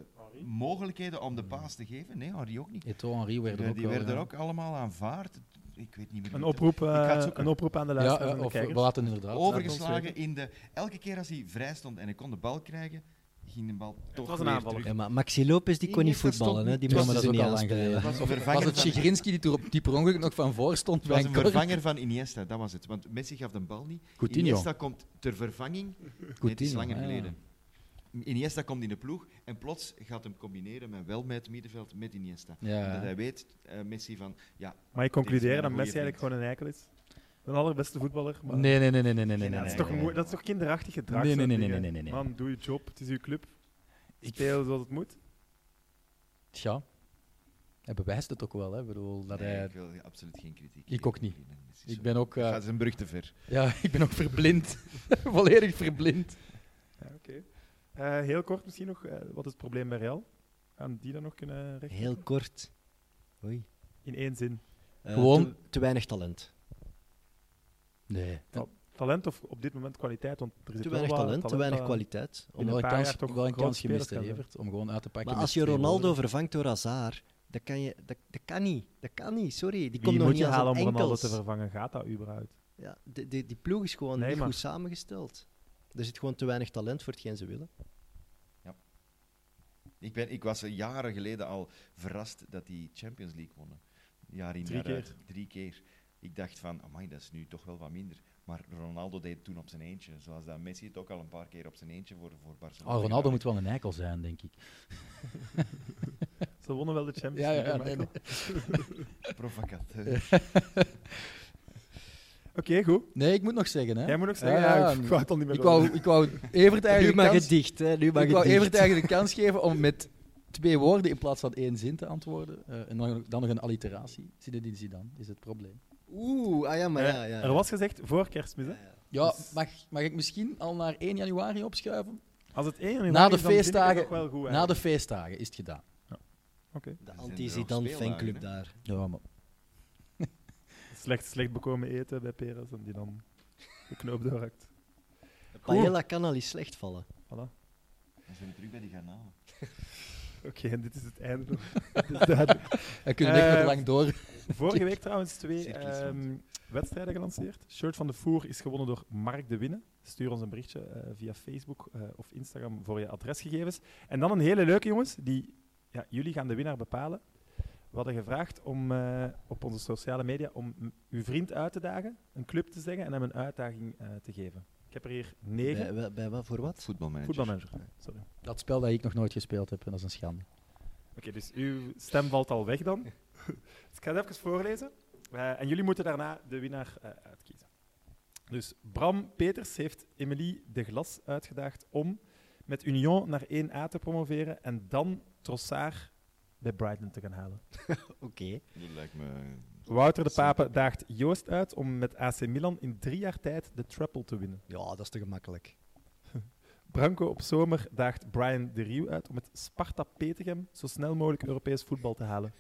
Speaker 4: mogelijkheden om de paas te geven. Nee, Henri ook niet.
Speaker 5: Eto'o Henry werden
Speaker 4: Die-
Speaker 5: ook
Speaker 4: die
Speaker 5: wel,
Speaker 4: werden
Speaker 5: ja.
Speaker 4: ook allemaal aanvaard. Ik weet niet meer
Speaker 2: Een
Speaker 4: wie het
Speaker 2: oproep, eh,
Speaker 4: Ik ga het zoeken.
Speaker 2: een oproep aan de
Speaker 5: Ja,
Speaker 2: luisteraars
Speaker 5: ja,
Speaker 2: en de
Speaker 5: eh, of we
Speaker 2: kijkers.
Speaker 5: laten inderdaad.
Speaker 4: was.
Speaker 2: laat
Speaker 4: Overgeslagen
Speaker 2: ons
Speaker 4: in de... Elke keer als hij vrij stond en hij kon de bal krijgen, ging de bal toch
Speaker 2: was een
Speaker 4: weer
Speaker 2: aanvaller.
Speaker 4: terug.
Speaker 3: Ja, maar Maxi Lopez die kon niet
Speaker 4: Iniesta
Speaker 3: voetballen,
Speaker 4: stond
Speaker 3: hè?
Speaker 4: niet.
Speaker 3: die
Speaker 5: Ja, maar
Speaker 3: moesten
Speaker 5: dat
Speaker 3: ze
Speaker 5: is ook
Speaker 3: niet
Speaker 5: al lang
Speaker 3: aanspelen.
Speaker 5: geleden.
Speaker 4: was een
Speaker 5: Of was
Speaker 4: vervanger
Speaker 5: het
Speaker 4: van-
Speaker 5: Sigrinski die, toen op- die per ongeluk nog van voor stond
Speaker 4: Het
Speaker 5: bij
Speaker 4: was
Speaker 5: een
Speaker 4: een
Speaker 5: corner?
Speaker 4: vervanger van Iniesta, dat was het. Want Messi gaf de bal niet.
Speaker 5: Coutinho.
Speaker 4: Iniesta komt ter vervanging. Nee, het is
Speaker 5: Coutinho,
Speaker 4: langer
Speaker 5: ja.
Speaker 4: geleden. Iniesta komt in de ploeg en plots gaat hem combineren met wel met het middenveld met Iniesta. Dat
Speaker 5: Ja.
Speaker 4: hij weet, eh, Messi, van ja,
Speaker 2: Maar ik concludeer
Speaker 4: Deze
Speaker 2: dat
Speaker 4: goeie
Speaker 2: Messi eigenlijk
Speaker 4: vriend.
Speaker 2: gewoon een eikel is. Een allerbeste voetballer. Maar
Speaker 5: Nee, nee, nee, nee, nee, nee, nee.
Speaker 2: dat, is
Speaker 5: nee,
Speaker 2: toch
Speaker 5: nee,
Speaker 2: moe-
Speaker 5: nee.
Speaker 2: dat is toch kinderachtig gedrag?
Speaker 5: Nee, nee,
Speaker 2: zo'n
Speaker 5: nee,
Speaker 2: dingen.
Speaker 5: nee, nee, nee, nee.
Speaker 2: Man, doe je job, het is uw club.
Speaker 5: Ik-
Speaker 2: Speel zoals het moet.
Speaker 5: Tja. Hij bewijst het ook wel, hè. Ik bedoel, dat
Speaker 4: nee,
Speaker 5: hij...
Speaker 4: ik wil absoluut geen kritiek.
Speaker 5: Ik ook niet. Ik ben ook... eh,
Speaker 4: Dat is een brug te ver.
Speaker 5: Ja, ik ben ook verblind. Volledig verblind.
Speaker 2: Eh, heel kort misschien nog, eh, wat is het probleem bij Real? Gaan die dat nog kunnen rechten?
Speaker 3: Heel kort. Oei.
Speaker 2: In één zin.
Speaker 3: Eh,
Speaker 5: Gewoon-
Speaker 3: te, te weinig talent.
Speaker 5: Nee.
Speaker 2: Talent of op dit moment kwaliteit? Want er zit
Speaker 3: Te
Speaker 2: wel
Speaker 3: weinig
Speaker 2: wat
Speaker 3: talent, te weinig
Speaker 2: aan.
Speaker 3: kwaliteit. Om-
Speaker 5: Om wel
Speaker 2: een
Speaker 5: een
Speaker 2: paar
Speaker 5: kans,
Speaker 2: jaar toch
Speaker 5: wel een
Speaker 2: grote
Speaker 5: kans gemist,
Speaker 2: spelers
Speaker 5: hè,
Speaker 2: gaan
Speaker 5: Evert, om gewoon uit te pakken.
Speaker 3: maar
Speaker 5: met
Speaker 3: als je
Speaker 5: twee
Speaker 3: Ronaldo
Speaker 5: woorden.
Speaker 3: vervangt door Hazard, dat kan, je, dat, dat kan niet. Dat kan niet, sorry. Die
Speaker 2: Wie
Speaker 3: komt nog
Speaker 2: moet
Speaker 3: niet
Speaker 2: je
Speaker 3: aan
Speaker 2: halen
Speaker 3: zijn
Speaker 2: om Ronaldo
Speaker 3: enkels.
Speaker 2: te vervangen? Gaat dat überhaupt?
Speaker 3: ja, die, die, die ploeg is gewoon
Speaker 2: Nee,
Speaker 3: niet
Speaker 2: maar-
Speaker 3: goed samengesteld. Er zit gewoon te weinig talent voor hetgeen ze willen.
Speaker 4: Ik, ben, ik was eh, jaren geleden al verrast dat die Champions League wonnen. Jaar in
Speaker 2: Drie
Speaker 4: jaar
Speaker 2: keer.
Speaker 4: uit. Drie keer. Ik dacht van, amai, dat is nu toch wel wat minder. Maar Ronaldo deed het toen op zijn eentje. Zoals dat Messi het ook al een paar keer op zijn eentje voor, voor Barcelona.
Speaker 5: Oh, Ronaldo
Speaker 4: gedaan
Speaker 5: moet wel een eikel zijn, denk ik.
Speaker 2: Ze wonnen wel de Champions
Speaker 5: Ja, ja,
Speaker 2: League. hè,
Speaker 5: ja, nee,
Speaker 2: Michael?
Speaker 4: heeft. Provocant. eh.
Speaker 2: Oké, goed.
Speaker 5: Nee, ik moet nog zeggen, hè.
Speaker 2: Jij moet nog zeggen,
Speaker 5: Ja,
Speaker 2: ja,
Speaker 5: ja,
Speaker 2: ik wou het al niet meer
Speaker 5: ik, wou,
Speaker 2: doen.
Speaker 5: ik wou Evert
Speaker 3: Nu
Speaker 5: eigenlijk
Speaker 3: mag
Speaker 5: de
Speaker 3: het
Speaker 5: kans,
Speaker 3: dicht, hè. Nu mag
Speaker 5: ik
Speaker 3: het
Speaker 5: wou
Speaker 3: dicht.
Speaker 5: Evert eigenlijk de kans geven om met twee woorden in plaats van één zin te antwoorden. Eh, en dan, dan nog een alliteratie. Zinedine Zidane is het probleem.
Speaker 3: Oeh, ah ja, maar
Speaker 2: Eh,
Speaker 3: ja, ja.
Speaker 2: Er was gezegd voor kerstmis. Hè?
Speaker 5: Ja, mag, mag ik misschien al naar 1 januari opschuiven?
Speaker 2: Als het één januari
Speaker 5: Na de
Speaker 2: is, dan vind ik het
Speaker 5: feestdagen-
Speaker 2: nog wel goed,
Speaker 5: Na de
Speaker 2: eigenlijk.
Speaker 5: feestdagen is het gedaan.
Speaker 3: De
Speaker 4: zijn
Speaker 3: anti-Zidane
Speaker 4: er nog speeldagen,
Speaker 3: fanclub
Speaker 4: hè?
Speaker 3: daar.
Speaker 5: Ja, maar
Speaker 2: Slecht, slecht bekomen eten bij Peres en die dan de knoop doorhakt.
Speaker 3: Paella kan al eens slecht vallen.
Speaker 2: Voilà.
Speaker 4: Dan zijn we terug bij die garnalen.
Speaker 2: Oké, en dit is het einde. nog. Dit is duidelijk.
Speaker 5: Hij kunnen echt
Speaker 2: Eh,
Speaker 5: nog lang door.
Speaker 2: Vorige week trouwens twee
Speaker 4: Cirkels rond.
Speaker 2: ehm, wedstrijden gelanceerd. Shirt van de Voer is gewonnen door Mark de Winne. Stuur ons een berichtje eh, via Facebook eh, of Instagram voor je adresgegevens. En dan een hele leuke, jongens. Die, ja, jullie gaan de winnaar bepalen. We hadden gevraagd om eh, op onze sociale media om m- uw vriend uit te dagen, een club te zeggen en hem een uitdaging eh, te geven. Ik heb er hier negen.
Speaker 3: Bij, bij, bij wat, voor wat?
Speaker 4: Voetbalmanager.
Speaker 2: Voetbalmanager. Sorry. Oké,
Speaker 5: Dat spel dat ik nog nooit gespeeld heb, en dat is een schande.
Speaker 2: dus uw stem valt al weg dan. Dus ik ga het even voorlezen. Eh, en jullie moeten daarna de winnaar eh, uitkiezen. Dus Bram Peters heeft Emily de Glas uitgedaagd om met Union naar 1A te promoveren en dan Trossard bij Brighton te gaan halen.
Speaker 3: Oké.
Speaker 4: Dat lijkt me...
Speaker 2: Wouter de Pape daagt Joost uit om met AC Milan in drie jaar tijd de treble te winnen.
Speaker 3: Ja, dat is te gemakkelijk.
Speaker 2: Branco op zomer daagt Brian de Rieuw uit om met Sparta Petegem zo snel mogelijk Europees voetbal te halen.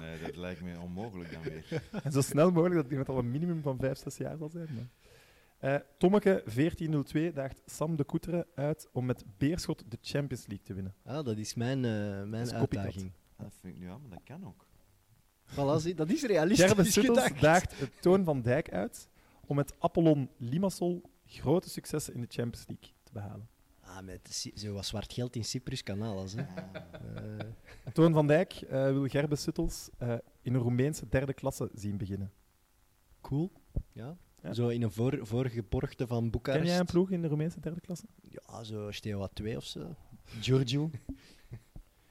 Speaker 4: Nee, dat lijkt me onmogelijk dan weer.
Speaker 2: En zo snel mogelijk, dat iemand al een minimum van 5, 6 jaar zal zijn. Maar. Eh, Tommeke 1402 daagt Sam de Koeteren uit om met Beerschot de Champions League te winnen.
Speaker 3: Ah, dat is mijn, eh, mijn
Speaker 2: is copycat.
Speaker 3: uitdaging.
Speaker 4: Dat vind ik nu aan, maar dat kan ook.
Speaker 3: Voilà, zie, dat is realistisch
Speaker 2: Gerben Suttels
Speaker 3: gedacht.
Speaker 2: daagt eh, Toon van Dijk uit om met Apollon Limassol grote successen in de Champions League te behalen.
Speaker 3: Ah, met Cy- zo wat zwart geld in Cyprus kanaal. Als, hè. Eh,
Speaker 2: Toon van Dijk eh, wil Gerben Suttels eh, in een Roemeense derde klasse zien beginnen.
Speaker 3: cool. Ja.
Speaker 2: Ja.
Speaker 3: Zo in een voor, voorgeborgte van Boekarest.
Speaker 2: Ken jij een ploeg in de Roemeense derde klasse?
Speaker 3: Ja, zo Steaua 2 of zo. Giorgio.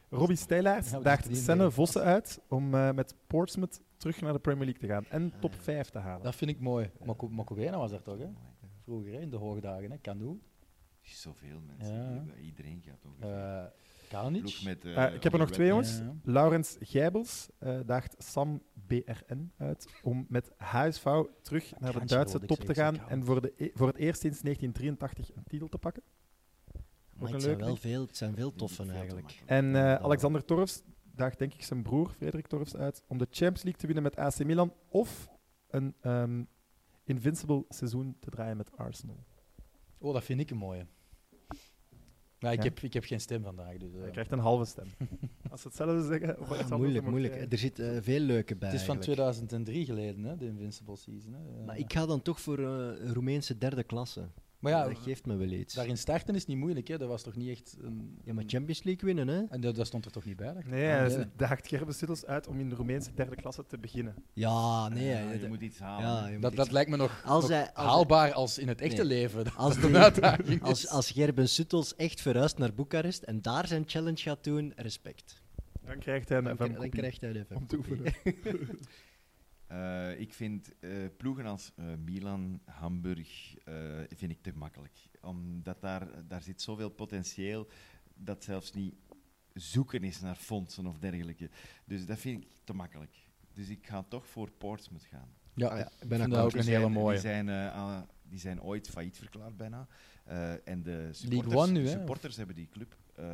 Speaker 2: Robbie Stijlaars
Speaker 5: Ja, we
Speaker 2: daagt
Speaker 5: zitten hier
Speaker 3: eh,
Speaker 2: Senne
Speaker 5: mee.
Speaker 2: Vossen uit om eh, met Portsmouth terug naar de Premier League te gaan en top
Speaker 3: Ah, ja.
Speaker 2: 5 te halen.
Speaker 5: Dat vind ik mooi. Maco- Macovena was daar toch, hè?
Speaker 4: Mooi.
Speaker 5: Vroeger, hè? in de hoogdagen, hè? Canoe.
Speaker 4: Er is Zoveel mensen.
Speaker 5: Ja.
Speaker 4: Iedereen gaat ongeveer.
Speaker 5: eh
Speaker 4: Ploeg
Speaker 5: Kalinic.
Speaker 4: met, eh,
Speaker 2: Eh, ik heb er nog
Speaker 4: Oliver
Speaker 2: twee,
Speaker 4: Wendel.
Speaker 2: jongens.
Speaker 5: Ja.
Speaker 2: Laurens Gijbels eh, daagt Sam BRN uit om met HSV terug naar de
Speaker 5: Kraantje
Speaker 2: Duitse
Speaker 5: wilde ik
Speaker 2: top te
Speaker 5: zeggen,
Speaker 2: gaan
Speaker 5: zeg,
Speaker 2: en voor, de e- voor het eerst sinds 1983 een titel te pakken. Ook
Speaker 3: Maar
Speaker 2: een
Speaker 3: het zijn,
Speaker 2: leuke.
Speaker 3: wel veel, het zijn veel
Speaker 4: Niet veel
Speaker 3: toffen
Speaker 4: te
Speaker 3: eigenlijk.
Speaker 4: maken.
Speaker 2: En eh,
Speaker 3: Ja, dat
Speaker 2: Alexander Torfs daagt denk ik zijn broer Frederik Torfs uit om de Champions League te winnen met AC Milan of een ehm, invincible seizoen te draaien met Arsenal.
Speaker 5: Oh, dat vind ik een mooie. Maar ik,
Speaker 2: Ja.
Speaker 5: heb, ik heb geen stem vandaag. Dus, eh,
Speaker 2: Hij krijgt een halve stem. Als ze hetzelfde zeggen... of
Speaker 3: Ah,
Speaker 2: iets anders, dan
Speaker 3: moeilijk,
Speaker 2: moet
Speaker 3: moeilijk.
Speaker 2: jij-
Speaker 3: Er zit eh, veel leuke bij.
Speaker 5: het is van
Speaker 3: eigenlijk.
Speaker 5: 2003 geleden, hè? de Invincible Season. Hè? Eh,
Speaker 3: Maar ik ga dan toch voor eh, Roemeense derde klasse.
Speaker 5: maar ja,
Speaker 3: dat geeft me wel iets.
Speaker 5: daarin starten is niet moeilijk. Hè? Dat was toch niet echt een...
Speaker 3: Ja, maar Champions League winnen, hè?
Speaker 5: En dat, dat stond er toch niet bij? dacht ik?
Speaker 2: Nee,
Speaker 5: Ah,
Speaker 2: hij daagt Gerben Suttels uit om in de Roemeense derde klasse te beginnen.
Speaker 3: Ja, nee.
Speaker 4: Ah, Ja,
Speaker 3: eh,
Speaker 4: je
Speaker 3: d-
Speaker 4: moet iets halen.
Speaker 3: ja, je moet
Speaker 5: Dat,
Speaker 3: iets-
Speaker 5: dat lijkt me nog,
Speaker 3: Als
Speaker 5: nog
Speaker 3: hij- als
Speaker 5: haalbaar als in het echte
Speaker 3: Nee.
Speaker 5: leven. Dat
Speaker 3: Als
Speaker 5: het een
Speaker 3: die-
Speaker 5: uitdaging
Speaker 3: Als,
Speaker 5: is.
Speaker 3: als Gerben Suttels echt verhuist naar Boekarest en daar zijn challenge gaat doen, respect.
Speaker 2: Dan krijgt hij
Speaker 3: Dan,
Speaker 2: een
Speaker 3: kri-
Speaker 2: FM
Speaker 3: dan krijgt hij even.
Speaker 2: om te oefenen.
Speaker 4: Eh, ik vind eh, ploegen als eh, Milan, Hamburg, eh, vind ik te makkelijk. Omdat daar, daar zit zoveel potentieel dat zelfs niet zoeken is naar fondsen of dergelijke. Dus dat vind ik te makkelijk. Dus ik ga toch voor Portsmouth gaan.
Speaker 5: Ja,
Speaker 3: Ah ja, ik
Speaker 5: ik
Speaker 3: ben
Speaker 5: ben
Speaker 3: akkoord.
Speaker 5: dat ook
Speaker 4: Die
Speaker 5: een
Speaker 4: zijn-
Speaker 5: hele mooie.
Speaker 4: Die zijn, eh, aan- die zijn ooit failliet verklaard bijna. Eh, en de supporters,
Speaker 5: One nu, hè?
Speaker 4: supporters hebben die club eh,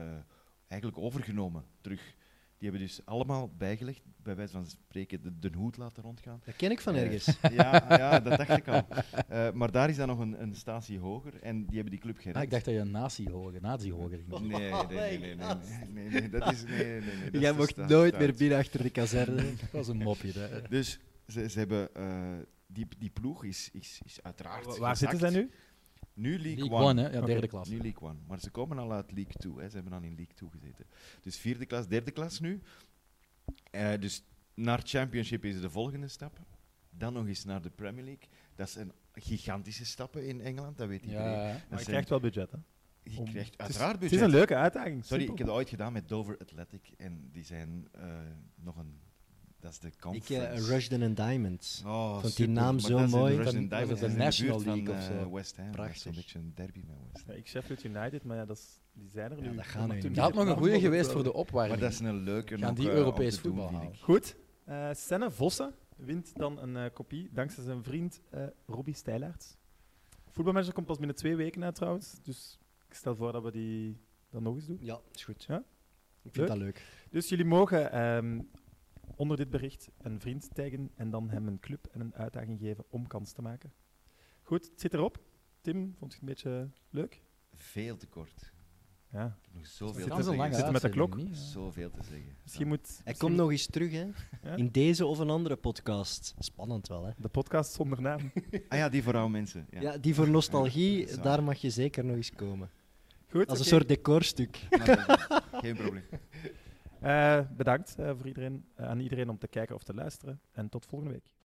Speaker 4: eigenlijk overgenomen terug. Die hebben dus allemaal bijgelegd, bij wijze van spreken, de, de hoed laten rondgaan.
Speaker 3: Dat ken ik van
Speaker 4: Eh,
Speaker 3: ergens.
Speaker 4: Ja, ja, dat dacht ik al. Eh, maar daar is dan nog een, een statie hoger en die hebben die club gered.
Speaker 5: Ah, ik dacht dat je een nazi-hoger, nazi-hoger ging doen.
Speaker 4: Nee, nee, nee, nee, nee, nee, nee, nee, dat is... Nee, nee, nee, dat is
Speaker 3: Jij
Speaker 4: te
Speaker 3: mocht
Speaker 4: stout,
Speaker 3: nooit
Speaker 4: stout.
Speaker 3: meer binnen achter de kazerne.
Speaker 5: Dat was een mopje. Dat.
Speaker 4: Dus ze, ze hebben... eh, die, die ploeg is, is, is uiteraard
Speaker 2: Waar zitten zij
Speaker 4: gezakt.
Speaker 2: nu?
Speaker 4: Nu League,
Speaker 5: League
Speaker 4: One.
Speaker 5: One, hè? Ja,
Speaker 2: Oké.
Speaker 5: derde klas.
Speaker 4: Nu League One. Maar ze komen al uit League 2. Hè. Ze hebben al in League 2 gezeten. Dus vierde klas, derde klas nu. Eh, dus naar Championship is de volgende stap. Dan nog eens naar de Premier League. Dat zijn gigantische stappen in Engeland, dat weet iedereen.
Speaker 5: Ja, ja.
Speaker 4: Dat
Speaker 2: Maar je
Speaker 4: zijn-
Speaker 2: krijgt wel budget, hè?
Speaker 4: je
Speaker 2: om-
Speaker 4: krijgt
Speaker 2: Het is-
Speaker 4: uiteraard
Speaker 2: Het is een
Speaker 4: budget.
Speaker 2: leuke uitdaging.
Speaker 4: Sorry, ik
Speaker 2: simpel.
Speaker 4: heb dat ooit gedaan met Dover Athletic. En die zijn eh, nog een... Dat is de
Speaker 3: Ik
Speaker 4: conference.
Speaker 3: eh, Rushden and Diamonds.
Speaker 4: Oh,
Speaker 3: die
Speaker 4: super.
Speaker 3: naam
Speaker 4: Maar
Speaker 3: zo
Speaker 4: dat is in
Speaker 3: mooi.
Speaker 4: Russian
Speaker 5: Dan- dat is
Speaker 4: Diamonds,
Speaker 5: de
Speaker 4: dat is in de
Speaker 5: National
Speaker 4: buurt van,
Speaker 5: League of
Speaker 4: eh,
Speaker 5: zo.
Speaker 4: West Ham. Dat is
Speaker 3: Prachtig.
Speaker 4: zo'n beetje een derby met West Ham.
Speaker 2: Ja, ik Sheffield United, maar ja, dat is, die zijn er
Speaker 3: Ja,
Speaker 2: nu.
Speaker 3: dat gaan nu
Speaker 2: Toen-
Speaker 5: Dat had nog een goede geweest voor de
Speaker 4: Maar dat
Speaker 5: opwarming.
Speaker 4: is een leuke
Speaker 5: Gaan
Speaker 4: ook,
Speaker 5: die
Speaker 4: eh, om
Speaker 5: Europees
Speaker 4: te doen,
Speaker 5: voetbal
Speaker 4: vind
Speaker 5: halen?
Speaker 4: ik.
Speaker 2: Goed. Eh Senne Vossen wint dan een eh, kopie dankzij zijn vriend eh Robbie Stijlaerts. Voetbalmanager komt pas binnen twee weken uit trouwens. Dus ik stel voor dat we die dan nog eens doen.
Speaker 3: Ja, is goed.
Speaker 2: Ja?
Speaker 3: Ik vind
Speaker 2: Leuk.
Speaker 3: dat leuk.
Speaker 2: Dus jullie mogen ehm, onder dit bericht een vriend taggen en dan hem een club en een uitdaging geven om kans te maken. Goed, het zit erop. Tim, vond je het een beetje leuk?
Speaker 4: Veel te kort.
Speaker 2: Ja.
Speaker 4: Ik heb nog
Speaker 5: Het
Speaker 4: zoveel
Speaker 5: kan
Speaker 4: te
Speaker 5: zo lang
Speaker 4: zeggen.
Speaker 2: zitten met de
Speaker 5: uitzenden,
Speaker 2: klok.
Speaker 5: niet? Ja.
Speaker 4: Zoveel te zeggen.
Speaker 2: Misschien moet
Speaker 3: Hij komt nog eens terug, hè?
Speaker 2: Ja.
Speaker 3: In deze of een andere podcast. Spannend wel, hè?
Speaker 2: de podcast zonder naam.
Speaker 4: Ah ja, die voor oude mensen.
Speaker 3: Ja,
Speaker 4: Ja.
Speaker 3: die voor
Speaker 4: Ja,
Speaker 3: nostalgie,
Speaker 4: dat is waar.
Speaker 3: daar mag je zeker nog eens komen.
Speaker 2: Goed,
Speaker 3: Als een
Speaker 2: oké.
Speaker 3: soort decorstuk.
Speaker 4: Maar dat is Geen probleem.
Speaker 2: Eh, bedankt eh, voor iedereen, eh, aan iedereen om te kijken of te luisteren. En tot volgende week.